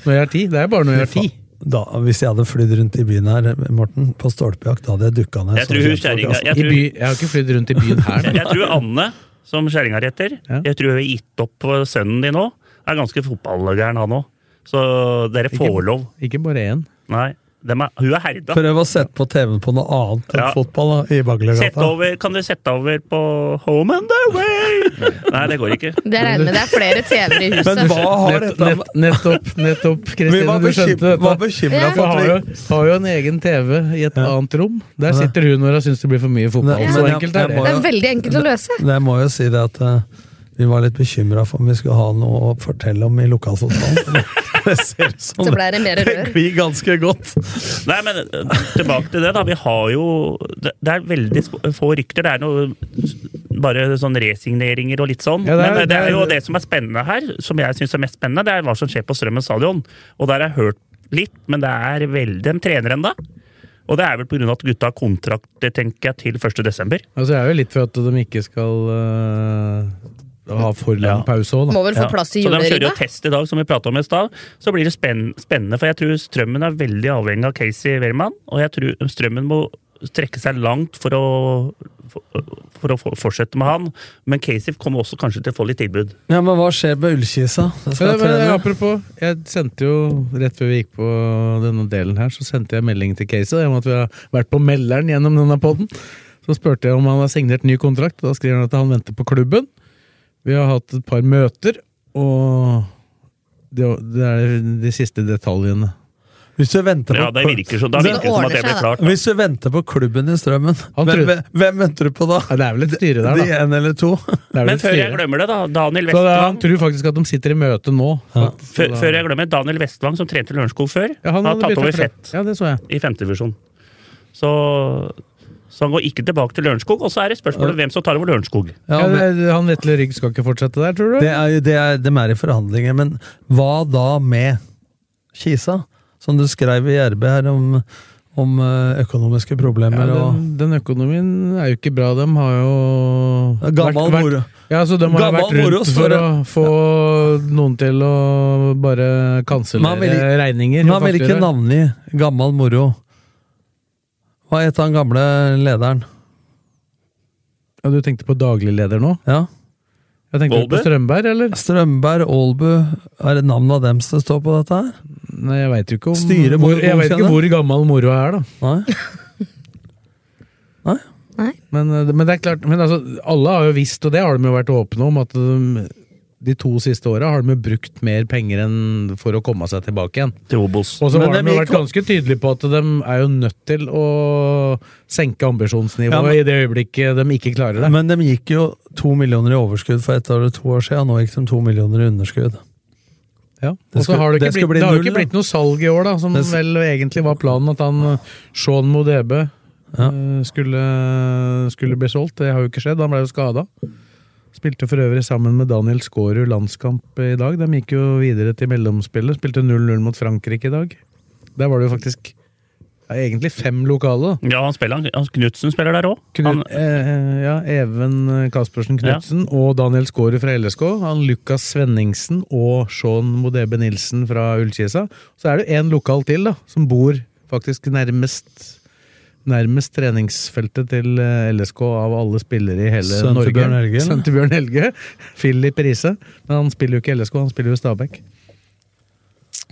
Når jeg har tid. Det er bare når jeg har tid. Da, hvis jeg hadde flydd rundt i byen her, Morten, på stolpejakt, da hadde jeg altså. dukka ned. Jeg som tror hun kjent- kjerringa jeg, Altså, I by, tror- jeg har ikke flydd rundt i byen her. *laughs* jeg tror Anne, som kjerringa heter, Ja. jeg tror hun har gitt opp på sønnen din òg. Er ganske fotballgæren, han òg. Så dere får lov. Ikke bare én. Nei. Dem er, hun er herda. Prøv å sette på TV-en på noe annet enn Ja. fotball da, i Sett Baglergata. over, kan dere sette over på Home and *laughs* Away? Nei, det går ikke. Det regner med det er flere TV-er i Men huset. hva har Nett, dette med nett, nettopp, nettopp, Vi Kristine. var Du skjønte bekym- var dette. bekymra Ja. For for har jo, at vi har jo en egen TV i et annet rom. Der sitter hun når hun syns det blir for mye fotball. Ja. Så Men jeg- enkelt er jeg må det. Det er veldig enkelt å løse. Men Jeg må jo si det at eh, vi var litt bekymra for om vi skulle ha noe å fortelle om i lokalfotballen. *laughs* Det ser ut som Så ble det mer rør. det glir ganske godt. Nei, men eh, tilbake til det, da. Vi har jo Det, det er veldig sp- få rykter. Det er noe bare sånn resigneringer og litt sånn. Ja, det er- men det, det det er er- jo det som er spennende her, som jeg syns er mest spennende, det er hva som skjer på Strømmen stadion. Og der har jeg hørt litt, men det er veldig De trener ennå. Og det er vel pga. at gutta har kontrakt, det tenker jeg, til 1.12. Altså, jeg er jo litt for at de ikke skal øh, ha for Ja. lang pause òg, da. Må vel få plass i Så de kjører jo juleribba. test i dag, som vi prata om i stad. Så blir det spenn- spennende, for jeg tror strømmen er veldig avhengig av Casey Wehrmann. Og jeg tror strømmen må strekke seg langt for å, for, for å for- fortsette med han. Men Casey kommer også kanskje til å få litt tilbud. Ja, Men hva skjer med ullkisa? Det skal Men, men, trene. apropos, jeg sendte jo rett før vi gikk på denne delen her, så sendte jeg melding til Casey. da, i og med at vi har vært på melderen gjennom denne podden. Så spurte jeg om han har signert ny kontrakt, og da skriver han at han venter på klubben. Vi har hatt et par møter, og det, det er de siste detaljene. Hvis du venter på Ja, det virker som- da virker det som at det ble klart, da. Hvis du venter på klubben i Strømmen, hvem, trodde- hvem venter du på da? det er vel et styre der, De da. en eller to. Men før jeg glemmer det, da. Daniel Så da, han Vestvang. tror faktisk at de sitter i møte nå. faktisk. Før, Så da- før jeg glemmer, Daniel Vestvang, som trente Lørenskog før, han han har hadde tatt byttet over fra- Fett i femtedivisjon. Så, så han går ikke tilbake til Lørenskog, og så er det spørsmålet hvem som tar over Lørenskog. Ja, det- han Vetle Rygg skal ikke fortsette der, tror du? Det er, jo- det er, de er i forhandlinger, men hva da med Kisa? Som du skrev i RB her om, om eh, økonomiske problemer Ja, og den, den økonomien er jo ikke bra. De har jo Gammel vært, moro. vært, ja, så de har Gammel vært rundt moro, så for det- å få noen til å bare kansellere Man vil ikke- regninger. Man og vil ikke fakturaer. navngi Gammal Moro. Hva het han gamle lederen? Ja, du tenkte på dagligleder nå? Ja. Jeg tenkte på Strømberg, eller? Strømberg, Aalbu. Er det navnet av dems det står på dette her? Nei, jeg veit jo ikke om Styret må hvor, Jeg vet ikke godkjenne. hvor gammel moroa er, da. Nei. Nei. Men, eh, men det er klart men altså, Alle har jo visst, og det har de jo vært åpne om, at de, de to siste åra har de jo brukt mer penger enn for å komme seg tilbake igjen. Til Obos. Og så Men har de dem jo gikk vært ganske tydelige på at de er jo nødt til å senke ambisjonsnivået Ja, men- i det øyeblikket de ikke klarer det. Men de gikk jo to millioner i overskudd for ett år og to år siden, og nå gikk de to millioner i underskudd. Ja. det Og så skulle- har det, det ikke skulle blitt, bli det har jo null, ikke da. blitt noe salg i år, da, som Det s- vel egentlig var planen at han eh, Sean Modebe Ja. eh, skulle, skulle bli solgt. Det har jo ikke skjedd, han ble jo skada. Spilte for øvrig sammen med Daniel Skårud landskamp i dag. De gikk jo videre til mellomspillet. Spilte 0-0 mot Frankrike i dag. Der var det jo faktisk ja, egentlig fem lokale. da. Ja, han spiller, han Knutsen spiller der òg. Knut, eh, ja, Even Caspersen Knutsen og Daniel Skåre fra LSK. Han Lukas Svenningsen og Sean Modebe Nilsen fra Ullkisa. Så er det jo en lokal til, da, som bor faktisk nærmest Nærmest treningsfeltet til eh, LSK av alle spillere i hele Sønnen til Norge. Bjørn Helge, eller? Sønnen til Bjørn Helge. *laughs* Philip Riise. Men han spiller jo ikke LSK, han spiller jo Stabæk.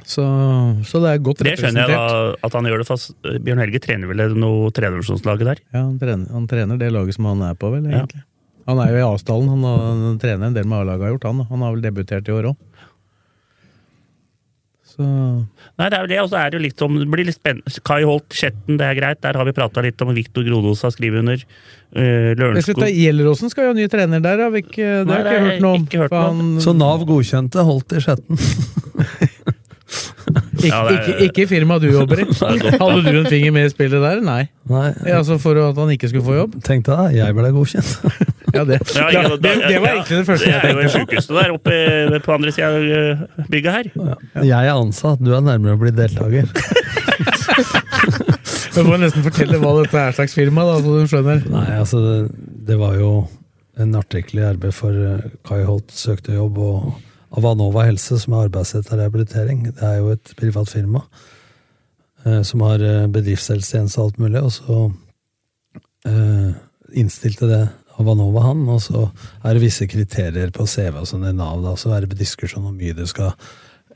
Så, så det er godt Det skjønner jeg da, representert. at han gjør det, for Bjørn Helge trener vel noe tredjevisjonslaget der? Ja, han trener, han trener det laget som han er på, vel, Ja. egentlig. Han er jo i Asdalen. Han, har- han trener en del med A-laget, har gjort han. da. Han har vel debutert i år òg. Så Nei, det er jo det, og så er det jo litt som, det blir litt spennende. Kai Holt, Skjetten, det er greit. Der har vi prata litt om Viktor Grodås har skrevet under. Uh, Jeg synes Lørenskog det er Gjelleråsen skal jo ha ny trener der, har vi ikke, det Nei, har det jeg har jeg ikke hørt noe om. ikke hørt for noe om. han, Så Nav godkjente, holdt i sjetten. ikke, Ja, det er- ikke, ikke i firmaet du *laughs* jobber i. Hadde du en finger med i spillet der? Nei. Nei, Ja, Altså For at han ikke skulle få jobb? tenk deg det, jeg ble *laughs* godkjent. Ja, det, Ja, ikke- det, det, det var egentlig det første jeg Det er jo tenkte på. sjukehuset der oppe eh, på andre sida av eh, bygget her. Jeg er ansatt, du er nærmere å bli deltaker. Du må nesten fortelle hva dette er slags firma, da, så du skjønner. Nei, altså, det, det var jo en artikkel i RB for eh, Kai Holt søkte jobb, og Avanova Helse, som er arbeidsrettet rehabilitering, det er jo et privat firma eh, som har eh, bedriftshelsetjeneste og alt mulig, og så eh, innstilte det Avanova han, og så er det visse kriterier på CV og sånn i NAV, da, så er det diskusjon om hvor mye du skal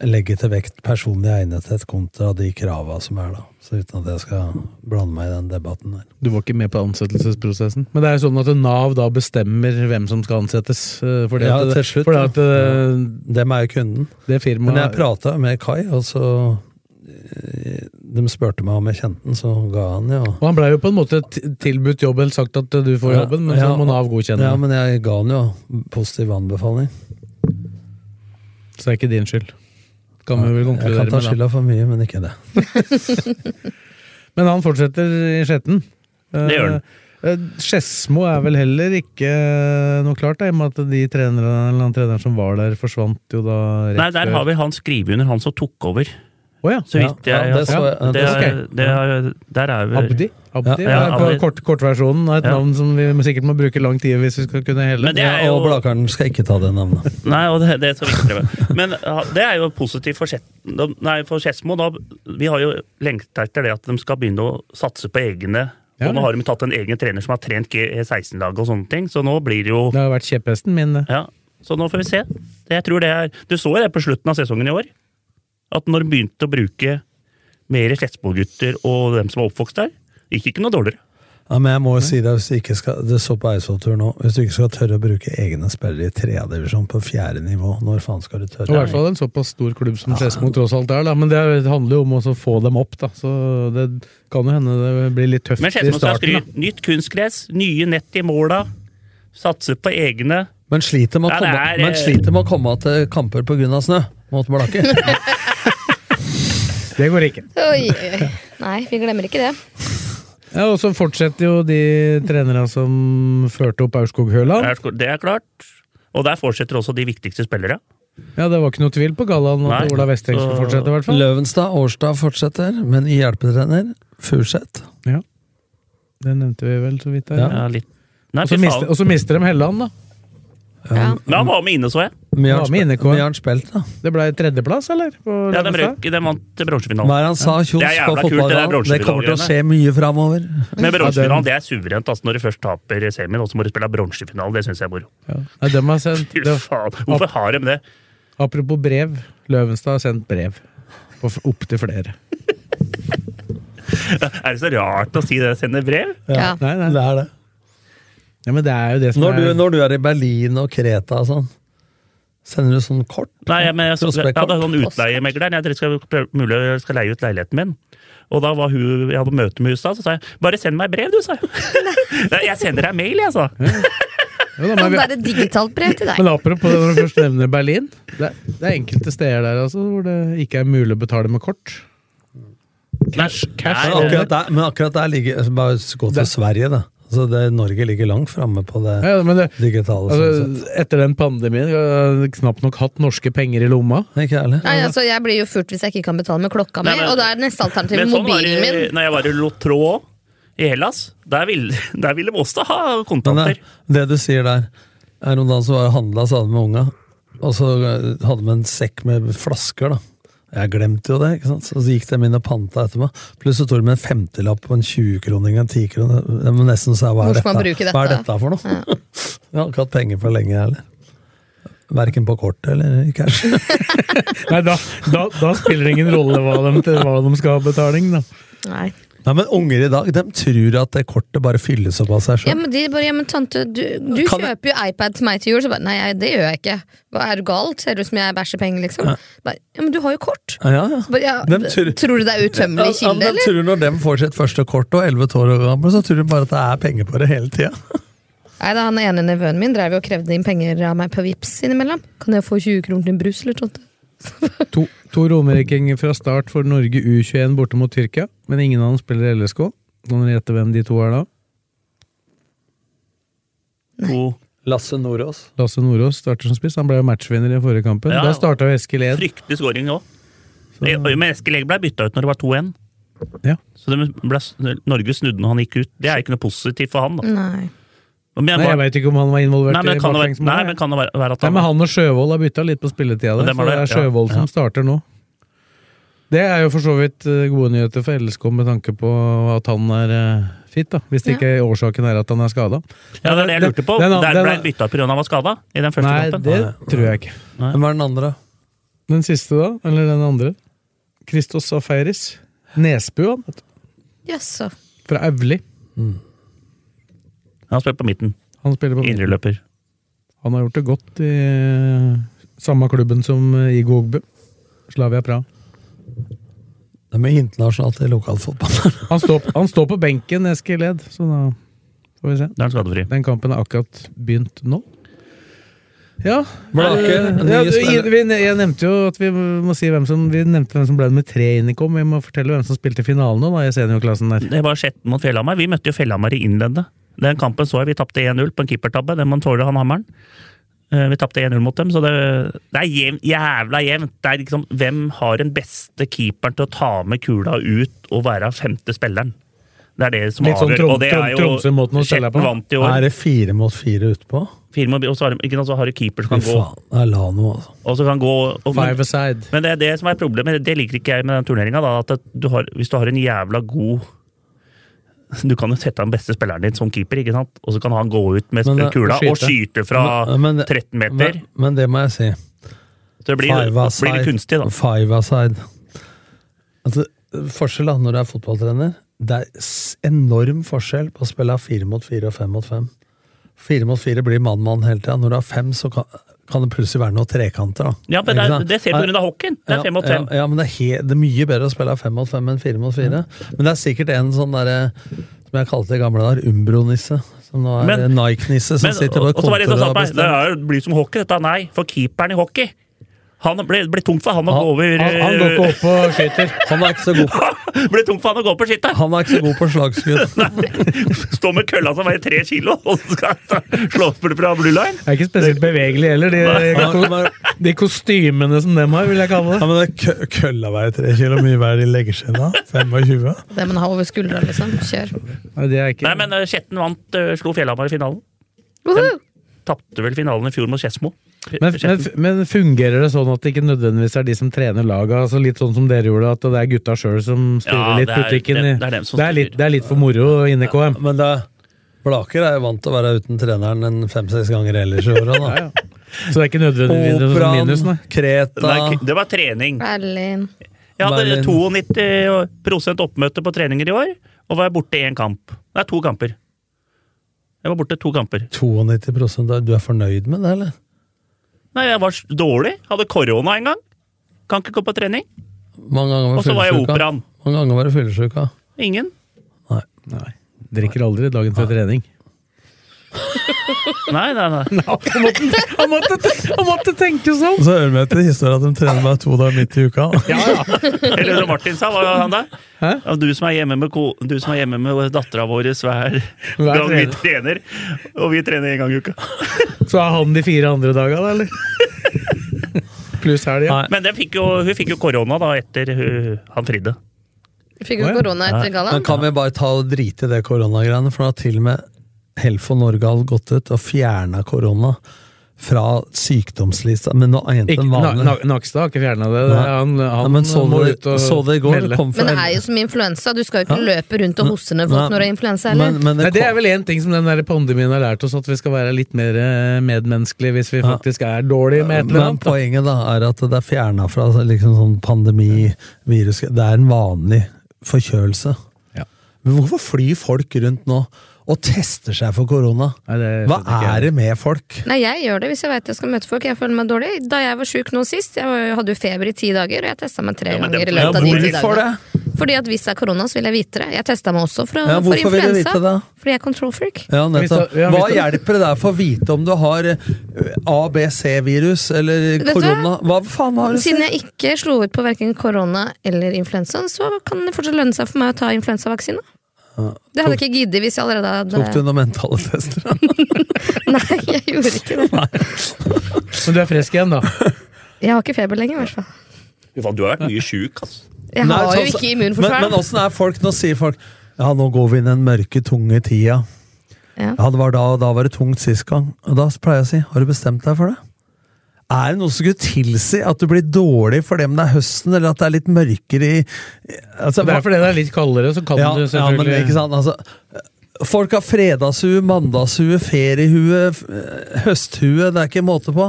legge til vekt personlig egnethet kontra de krava som er, da. Så uten at jeg skal blande meg i den debatten der. Du var ikke med på ansettelsesprosessen. Men det er jo sånn at Nav da bestemmer hvem som skal ansettes. eh, Fordi Ja, at, til slutt, fordi ja. at eh, Dem er jo kunden. det Men jeg firmaet prata med Kai, og så eh, De spurte meg om jeg kjente den, så ga han jo. Og han blei jo på en måte t- tilbudt jobb eller sagt at eh, du får Ja, jobben, men ja, så må Nav godkjenne. Ja, men jeg ga han jo positiv anbefaling. Så det er ikke din skyld. Kan vi vel Jeg konkludere kan ta med da. skylda for mye, men ikke det. Men han fortsetter i Skjetten. Eh, Det gjør han. eh, Skedsmo er vel heller ikke eh, noe klart, da, i og med at de trenerne, eller han treneren som var der, forsvant jo da rett Nei, der har vi han skriver under, han som tok over. Å ja. Så vidt jeg ja, det så jeg. det er, ok. det er, Der er vi Abdi. Abdi Ja, ja, er på Abdi. kort, kortversjonen av et Ja. navn som vi sikkert må bruke lang tid hvis vi skal kunne hele. Men det er Ja, jo og Blakaren skal ikke ta det navnet. *laughs* Nei, og det, det er så viktig. det. Men ja, det er jo positivt for, Skjet- da- nei, for Skedsmo. da- Vi har jo lengta etter det at de skal begynne å satse på egne. Ja. Og nå har de tatt en egen trener som har trent G16-laget og sånne ting, så nå blir det jo Det har vært eh, kjepphesten min. det. Ja, så nå får vi se. Jeg tror det er, du så jo det på slutten av sesongen i år. At når de begynte å bruke mer Skedsmo-gutter og dem som var oppvokst der, gikk ikke noe dårligere. Ja, men jeg må jo si det, hvis du ikke skal, det står på Eidsvolltur nå, hvis du ikke skal tørre å bruke egne spillere i tredjedivisjon på fjerde nivå, når faen skal du tørre? Og I hvert fall en såpass stor klubb som Skedsmo tross alt er, da. Men det handler jo om også å få dem opp, da. Så det kan jo hende det blir litt tøft Men i Skedsmo skal skry. starten. da. Nytt kunstgress, nye nett i måla. Satse på egne. Men sliter med å Ja, det komme, er, men eh, sliter med å komme til kamper pga. snø mot *laughs* Blakke. det går ikke. Oi, oi. Nei, vi glemmer ikke det. Ja, og så fortsetter jo de trenerne som førte opp Aurskog-Høland. Det er- Det er klart. Og der fortsetter også de viktigste spillere. Ja, det var ikke noe tvil på gallaen Nei, at Ola Westeng skulle så- fortsette, i hvert fall. Løvenstad Årstad fortsetter, men i hjelpetrener Furseth. Ja. Det nevnte vi vel så vidt der. Ja. ja. Ja, litt. Nei, Og så fy mister, faen. og så mister de Helland, da. Men han var med inne, så jeg. Var med i NK. Mjørn spilt, da. Det ble tredjeplass, eller? På Ja, de, Løvenstad? røk, de vant til bronsefinalen. Hva er det han sa? Kjos Det er på jævla kult, det der fotballbanen. Det kommer til å skje bronsefinalen-greiene. mye framover. Men Ja, bronsefinalen den- det er suverent. altså Når du først taper semien, og så må du spille bronsefinale. Det syns jeg er moro. Ja. Nei, de har sendt, *laughs* Fy det, faen, Hvorfor har de det? apropos brev, Løvenstad har sendt brev. På f- opp til flere. Er det så rart å si det? Sende brev? Ja. Nei, nei. Det er det. Ja, men det er jo det som Når du, er når du er i Berlin og Kreta og sånn, sender du sånn kort? Nei, men jeg, så, jeg Prospektkort. hadde sånn utleiemegler. Jeg tenkte skal, prøve- mulig jeg skal leie ut leiligheten min. Og da var hun, jeg hadde møte med huset, så sa jeg bare send meg brev, du, sa jeg. *laughs* Nei, jeg sender deg mail, jeg, sa. Jo da, Kan men, *laughs* det vi, være et digitalt brev til deg? men apropos det når du først nevner Berlin. Det, er- det er enkelte steder der altså, hvor det ikke er mulig å betale med kort. Cash, cash. Men akkurat der, men akkurat der ligger altså, Bare gå til Det- Sverige, da. Altså det, Norge ligger langt framme på det Ja, men det, digitale. sånn sett. altså, etter den pandemien har jeg knapt nok hatt norske penger i lomma. Ikke ærlig. Nei, altså, jeg blir jo furt hvis jeg ikke kan betale med klokka mi, Nei, men- og da er neste alternativ Men sånn var mobilen min. det når jeg var i Lotro òg, i Hellas. Der ville, der ville de også ha Men det, kontanter. det du sier der, er om dagen så var jeg handla sammen med unga, og så eh, hadde vi en sekk med flasker, da. Jeg glemte jo det, ikke sant? så gikk de inn og panta etter meg. Pluss så tok de en femtelapp på en 20-kroning og en 10-kroning. Det var nesten så jeg, hva, Hvor er skal man bruke dette? hva er dette? dette for noe? *laughs* jeg har ikke hatt penger for lenge, jeg heller. Verken på kortet eller i cash. *laughs* Nei, da, da, da spiller det ingen rolle hva de, til hva de skal ha betaling, da. Nei. Nei, men unger i dag, de tror at det kortet bare fylles opp av seg Ja, sjøl. men de bare, ja, men tante, du, du Kan jeg- kjøper jo iPad til meg til jul. Så bare, nei, jeg- det gjør jeg ikke. Hva er du galt? Ser det ut som jeg bæsjer penger, liksom? Bare, ja, men du har jo kort. Ja, ja. Bare, ja, Hvem d- tror- tror du det er Ja, utømmelig men kilde, de eller? tror når de får sitt første kort og 11 år gamle, så tror de bare at det er penger på det hele tida. Nei, da, han ene nevøen min drev jo og krevde inn penger av meg på Vipps innimellom. Kan jeg få 20 kroner til en brus, eller tante? To, to romerikinger fra start for Norge U21 borte mot Tyrkia, men ingen av dem spiller i LSK. Kan dere gjette hvem de to er da? To Lasse Nordås. Lasse Nordås starter som spiss. Han ble jo matchvinner i forrige kampen. Ja. Da starta jo Eskil Ed. fryktelig scoring òg. Men Eskil Egil ble bytta ut når det var 2-1. Ja. Så det ble, Norge snudde når han gikk ut. Det er ikke noe positivt for han. da. Nei. Men, jeg Nei, jeg bare, veit ikke om han var involvert nei, men, i kan det være, nei, baklengsmålet. men kan det være være at Nei, han men han og Sjøvold har bytta litt på spilletida Og der, dem så har det er det, ja. Sjøvold Ja. som starter nå. Det er jo for så vidt eh, gode nyheter for LSK med tanke på at han er eh, fit, da. Hvis det Ja. ikke årsaken er at han er skada. Ja, det er det jeg lurte på. Den- den- Der ble han den- bytta ut pga. han var skada i den første Nei, kampen. det tror jeg ikke. Hvem er den andre? Den siste, da? Eller den andre? Christos Safaris. Nesbu, han. vet du. Jaså. Fra Auli. Han spilte på midten. Han spiller på midten. Indreløper. Han har gjort det godt i eh, samme klubben som eh, i Gogbø. Slavia Praha. De er internasjonalt i *laughs* lokalfotball. Han står, han står på benken, Eskil Ed, så da får vi se. Da er han skadefri. Den kampen er akkurat begynt nå. Ja, Blake, eh, nye ja du, spillere. vi, Jeg nevnte jo at vi må si hvem som, vi nevnte hvem som ble nummer tre inn i kom. Vi må fortelle hvem som spilte finalen nå, da, i seniorklassen der. Det var Skjetten mot Fjellhamar. Vi møtte jo Fjellhamar i innledende. Den kampen så jeg. Vi tapte 1-0 på en keepertabbe. Den man tåler, han hammeren. Eh, Vi tapte 1-0 mot dem, så det, det er jevn, jævla jevnt. Det er liksom, hvem har den beste keeperen til å ta med kula ut og være femte spilleren? Det er det som Litt sånn avgjør. Trom- og det er Trom- Tromsø-måten å spille på. Skjetten vant i Er år. det fire mot fire utpå? Fire mot- Og så har, de- ikke sant, så har du keeper som Fy kan gå. faen, det er Lano, altså. Og så kan gå og, men, Five aside. men det er det som er problemet. Det liker ikke jeg med den turneringa. At du har, hvis du har en jævla god Du kan jo sette den beste spilleren din som keeper, ikke sant? og så kan han gå ut med Men, eh, kula og skyte. eh, skyte fra 13 meter. Men, men det må jeg si. så det blir, Five blir litt kunstig, da. Five aside. Altså, forskjell da, når du er fotballtrener, det er s- enorm forskjell på å spille fire mot fire og fem mot fem. Fire mot fire blir mann-mann hele tida. Når du har fem, så kan, kan det plutselig være noen trekanter. da. Ja, men det, Ikke er, sant? det ser du pga. hockeyen. Det er fem mot fem. Ja, ja men det er, he det er mye bedre å spille fem mot fem enn fire mot fire. Men det er sikkert en sånn derre som jeg kalte det i gamle dager, Umbro-nisse. Som nå er Men- Nike-nisse som Men- sitter på og- og så var det en som kontoret sa på og meg, Det bestemmer. er, blir som hockey, dette. Nei, for keeperen i hockey han ble, ble tungt for han å Han- gå over han- han går *laughs* ikke opp og skyter. Han er ikke så god på Ble tungt for han å gå opp og skyte. Han er ikke så god på slagskudd. Stå med kølla som veier tre kilo, og så skal han slå spille fra blue line. Det er ikke spesielt bevegelig heller, de, Nei. de kostymene som dem har, vil jeg kalle Ja, det. men det kø- Kølla veier tre kilo, mye hva er det de legger seg inn da? 25? Det man har over skuldra, liksom. Kjør. Nei, det er ikke Nei, men eh, Skjetten vant, eh, slo Fjellhamar i finalen. Woohoo! Tapte vel finalen i fjor mot Skedsmo. Men, men, Skjetten. men fungerer det sånn at det ikke nødvendigvis er de som trener laget? Altså litt sånn som dere gjorde, at det er gutta sjøl som styrer Ja, litt det er- butikken? i- det- det er dem som det, er litt, det er litt for moro inne i KM. Men det, Blaker er jo vant til å være uten treneren en fem-seks ganger ellers i året. da. Så det er ikke nødvendigvis noe sånn Operaen, minus, nei. Kreta Nei, det var trening. Berlin. Jeg hadde Berlin. 92 oppmøte på treninger i år, og var borte én kamp. Nei, to kamper. Jeg var borte to kamper. 92 da. Du er fornøyd med det, eller? Nei, jeg var s- dårlig. Hadde korona en gang. Kan ikke gå på trening. Mange ganger var Og så var jeg i fyllesyk, da. operaen. Mange ganger var du fyllesyk, da. Ingen. nei. Drikker aldri dagen før trening. Nei, nei, nei. Han måtte, han måtte tenke sånn! Og så hører vi etter historien at de trener meg to dager midt i uka. da. Eller som Martin sa, var jo han der. Ja, Du som er hjemme med, ko- du som er hjemme med dattera vår hver Hver gang vi trening. trener. Og vi trener én gang i uka. Så er han de fire andre dagene, da, eller? Pluss helg, ja. Nei. Men den fikk jo, hun fikk jo korona da etter hun, han fridde. Fikk jo Å, ja. korona etter Men gallaen. kan vi bare ta og drite i det koronagreiene, for nå har til og med Helfo Norge har gått ut og fjerna korona fra sykdomslista. Men nå er jenten Ikke- Na- vanlig. Na- Nakstad har ikke fjerna det. Nei. Han, han Ja, men så må det, ut og så det i går? melde. Det kom fra Men det er jo som influensa. Du skal jo ikke løpe rundt og hoste ned folk Nei, når du har influensa men, heller. men det Nei, det kom- er vel en ting som den der pandemien har lært oss, at vi skal være litt mer eh, medmenneskelige hvis vi Ja. faktisk er dårlige med et eller Men annet. da. poenget da er at det er fjerna fra liksom sånn pandemi, virus Det er en vanlig forkjølelse. Ja. Men hvorfor flyr folk rundt nå og tester seg for korona? Nei, det Hva skjønner ikke er jeg. det med folk? Nei, jeg gjør det hvis jeg veit jeg skal møte folk. Jeg føler meg dårlig. Da jeg var sjuk nå sist, jeg var- hadde jo feber i ti dager, og jeg testa meg tre Ja, men det- ganger i Ja, løpet av de ti hvorfor dagene. Fordi at hvis det er korona, så vil jeg vite det. Jeg testa meg også for, Ja, for hvorfor vil du influensa. vite det? Fordi jeg er control freak. Ja, nettopp. Hvis du- ja, Hva hvis du- hjelper det deg for å vite om du har eh, ABC-virus eller du hva? korona? Hva faen har du Siden jeg ikke slo ut på verken korona eller influensaen, så kan det fortsatt lønne seg for meg å ta influensavaksine. Det hadde jeg ikke giddet hvis jeg allerede hadde Tok du noen mentale tester? *laughs* Nei, jeg gjorde ikke det. Men du er *laughs* frisk igjen, da. Jeg har ikke feber lenger, i hvert fall. Fy faen, Du har vært mye sjuk, ass. Jeg Nei, har sånn- jo ikke Men, immunforsvar. men åssen er folk? Nå sier folk ja, nå går vi inn i den mørke, tunge tida. Ja. Ja, det var da, og da var det tungt sist gang. Og da pleier jeg å si, har du bestemt deg for det? Er det noe som skulle tilsi at du blir dårlig for det om det er høsten, eller at det er litt mørkere i altså, Det er fordi det er litt kaldere, så kan ja, du ja, men selvfølgelig ikke sant, altså... Folk har fredagshue, mandagshue, feriehue, f- eh, høsthue, det er ikke måte på.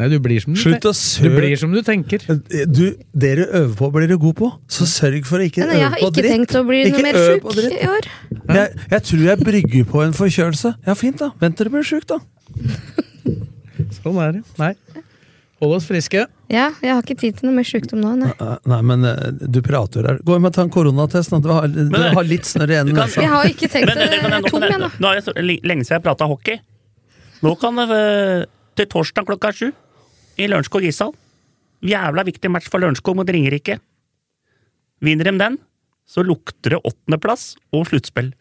Nei, du blir som du, Slutt tenker. å søle. du blir som du tenker. eh, Du, det du øver på blir du god på, så sørg for å ikke Men jeg øve har på ikke dritt. tenkt å bli Ikke noe mer øv sjuk på dritt. i år. Men Jeg, jeg tror jeg brygger på en forkjølelse. Ja, fint, da. Vent til du blir sjuk, da. Sånn er det. Nei. Hold oss friske. Ja, jeg har ikke tid til noe mer sjukdom nå, nei. Eh, Nei, men eh, du prater her. Gå hjem og ta en koronatest. da. Du har, du har litt snørr igjen i nesa. Jeg har *laughs* ikke tenkt Men, det. det kan Jeg jeg- er tom, jeg nå. nå er det så- l- lenge siden jeg prata hockey. Nå kan det eh, til torsdag klokka sju i Lørenskog ishall. Jævla viktig match for Lørenskog mot Ringerike. Vinner de den, så lukter det åttendeplass og sluttspill.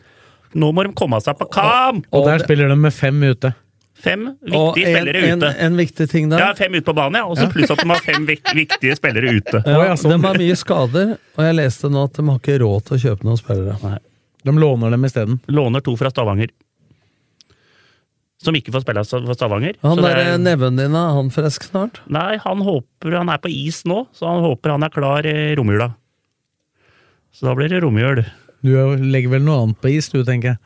Nå må de komme seg på kamp! Og der det- spiller de med fem *laughs* ute. Fem Og viktige en, spillere en, ute. en viktig ting der. Ja, fem ute på banen, ja. Og så pluss at de har fem vik- viktige spillere ute. Ja, Å, ja, sånn. De har mye skader, og jeg leste nå at de har ikke råd til å kjøpe noen spillere. De låner dem isteden. Låner to fra Stavanger. Som ikke får spille for Stavanger. Han Så det der eh, er- neven din, er han frisk snart? Nei, han håper han er på is nå, så han håper han er klar i romjula. Så da blir det romjul. Du *laughs* legger vel noe annet på is, du, tenker jeg.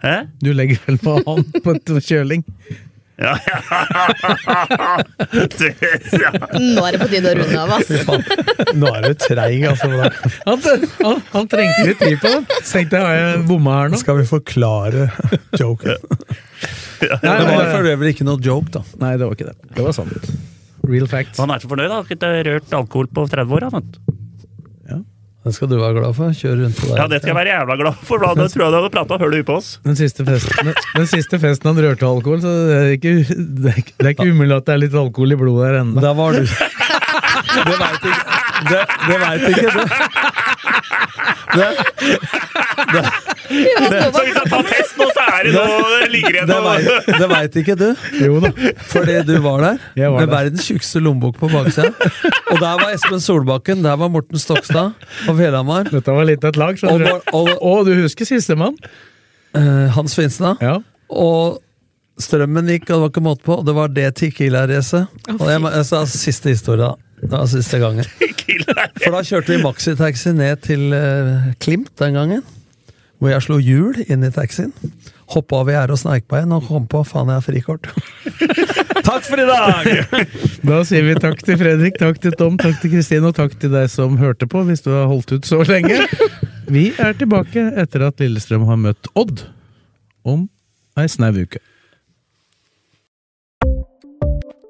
Hæ? Du legger vel noe annet på et kjøling? Ja, Nå er det på tide å runde av, ass. Nå er du treig, altså. *laughs* Han, han, han trengte litt tid på den. Så tenkte jeg, har jeg bomma her nå? Skal vi forklare joken? Nei, det var nei, for øvrig ikke noe joke, da. Nei, det var ikke det. Det var sant. Real facts. Han er så fornøyd, han har ikke rørt alkohol på 30 år. Han. Den skal du være glad for. Kjør rundt på deg. Ja, det skal jeg være jævla glad for, for da tror jeg du hadde prata høl på oss. Den siste, festen, den, den siste festen han rørte alkohol, så det er ikke, det er ikke, det er ikke umulig at det er litt alkohol i blodet her ennå. Da var du Det veit ikke Det, det veit ikke du. Det, det, Så hvis han tar test nå, så er det noe ligger igjen det noe. veit- det veit ikke du, Jo da. fordi du var der Jeg var med der. verdens tjukkeste lommebok på baksida. Og der var Espen Solbakken, der var Morten Stokstad og Fjellhamar. Dette var litt av et lag, Og, skjønner du. og, og Å, du husker sistemann? eh, Hans Finstad. Ja. Og strømmen gikk, og det var ikke måte på. og Det var det Tequila-racet. Og jeg, må- jeg sa siste historie, da. Det var siste gangen. For da kjørte vi maxitaxi ned til eh, Klimt den gangen. Hvor jeg slo hjul inn i taxien. Hoppa over gjerdet og sneik meg inn og kom på faen, jeg har frikort. Takk for i dag! Da sier vi takk til Fredrik, takk til Tom, takk til Kristin, og takk til deg som hørte på, hvis du har holdt ut så lenge. Vi er tilbake etter at Lillestrøm har møtt Odd om ei snau uke.